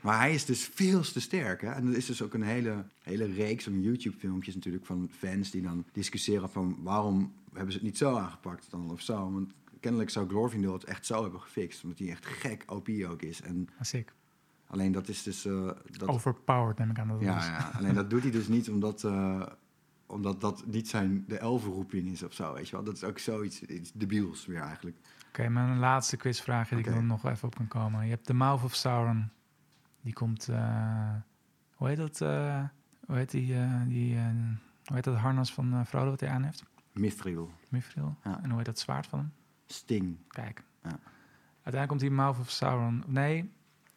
B: Maar hij is dus veel te sterk. Hè? En er is dus ook een hele, hele reeks van YouTube-filmpjes natuurlijk van fans die dan discussiëren van waarom hebben ze het niet zo aangepakt dan of zo. Want kennelijk zou Glorfindel het echt zo hebben gefixt, omdat hij echt gek OP ook is. En
A: Ah, Sick.
B: alleen dat is dus... eh,
A: Oh,
B: dat,
A: Overpowered neem ik aan dat het
B: ja,
A: was.
B: ja, alleen dat doet hij dus niet omdat, eh, omdat dat niet zijn de elfenroeping is of zo, weet je wel. Dat is ook zoiets iets debiels weer eigenlijk.
A: Oké, mijn laatste quizvraagje die ik
B: Oké.
A: dan nog even op kan komen. Je hebt The Mouth of Sauron. Die komt, eh, hoe heet dat, eh, hoe heet die, eh, die eh, hoe heet dat harnas van eh, Frodo wat hij aan heeft?
B: Mithril,
A: Mithril.
B: Ja.
A: En hoe heet dat zwaard van hem?
B: Sting.
A: Kijk.
B: Ja.
A: Uiteindelijk komt die Mouth of Sauron. Nee,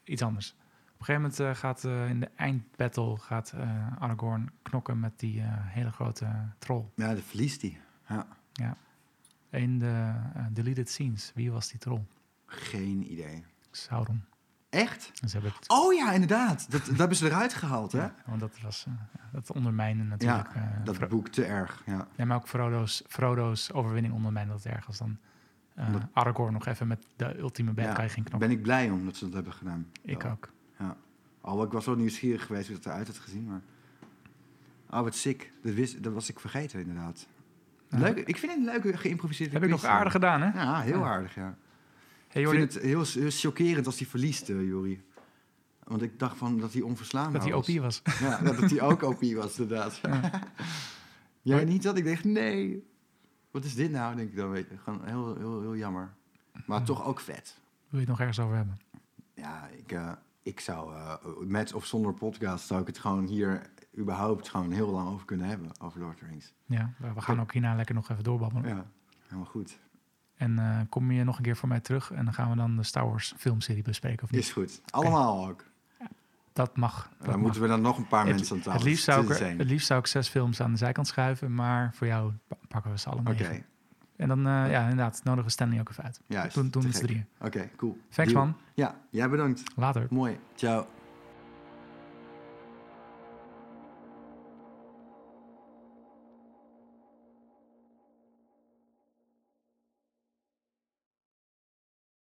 A: iets anders. Op een gegeven moment eh, gaat eh, in de eindbattle gaat, eh, Aragorn knokken met die eh, hele grote troll.
B: Ja, dat verliest hij.
A: In de eh, deleted scenes. Wie was die troll?
B: Geen idee.
A: Sauron.
B: Echt?
A: En ze hebben het.
B: Oh ja, inderdaad. Dat, dat hebben ze eruit gehaald, hè?
A: Ja, want dat was eh, dat ondermijnde natuurlijk. eh,
B: Dat
A: Fro-
B: boek te erg, ja.
A: ja, maar ook Frodo's, Frodo's overwinning ondermijnde dat ergens dan. eh,
B: Omdat-
A: Aragorn nog even met de ultieme bad
B: Ja,
A: guy ging knokken.
B: Ben ik blij om dat ze dat hebben gedaan.
A: Ik
B: Ja.
A: ook.
B: Al, ik was wel nieuwsgierig geweest hoe het eruit had gezien, maar... Oh, wat sick. Dat, wist, dat was ik vergeten, inderdaad.
A: Ja.
B: Leuk, ik vind het een leuke geïmproviseerde
A: Heb ik nog
B: quiz,
A: aardig gedaan, hè?
B: Ja, heel
A: Ja.
B: aardig, ja.
A: Hey,
B: Ik
A: Jordi,
B: vind het heel, heel chockerend als hij verliest, eh Jori. Want ik dacht van dat hij onverslaanbaar
A: dat hij OP
B: was.
A: was.
B: Ja, dat dat hij ook OP was, inderdaad. Jij
A: Maar-
B: niet dat? Ik dacht, nee. Wat is dit nou, denk ik dan, weet je. Gewoon heel, heel, heel jammer. Maar
A: Ja.
B: toch ook vet.
A: Wil je het nog ergens over hebben?
B: Ja, ik, eh, ik zou eh, met of zonder podcast zou ik het gewoon hier überhaupt gewoon heel lang over kunnen hebben, over Lord of the Rings.
A: Ja, we, we gaan ook hierna lekker nog even doorbabbelen.
B: Ja, helemaal goed.
A: En eh, kom je nog een keer voor mij terug en dan gaan we dan de Star Wars filmserie bespreken of niet?
B: Is goed. Allemaal ook.
A: Dat mag. Dat
B: Dan
A: mag.
B: moeten we dan nog een paar
A: het,
B: mensen aan tafel.
A: het, liefst zou ik
B: Dat
A: er-
B: is insane.
A: het liefst zou ik zes films aan de zijkant schuiven, maar voor jou pa- pakken we ze allemaal.
B: Oké,
A: En dan, eh, ja, inderdaad, nodigen we Stanley ook even uit.
B: juist.
A: Doen, doen
B: Te
A: met z'n
B: gek.
A: drieën.
B: Oké, cool.
A: Thanks
B: Deal.
A: man,
B: Ja, jij bedankt.
A: later.
B: Mooi. Ciao.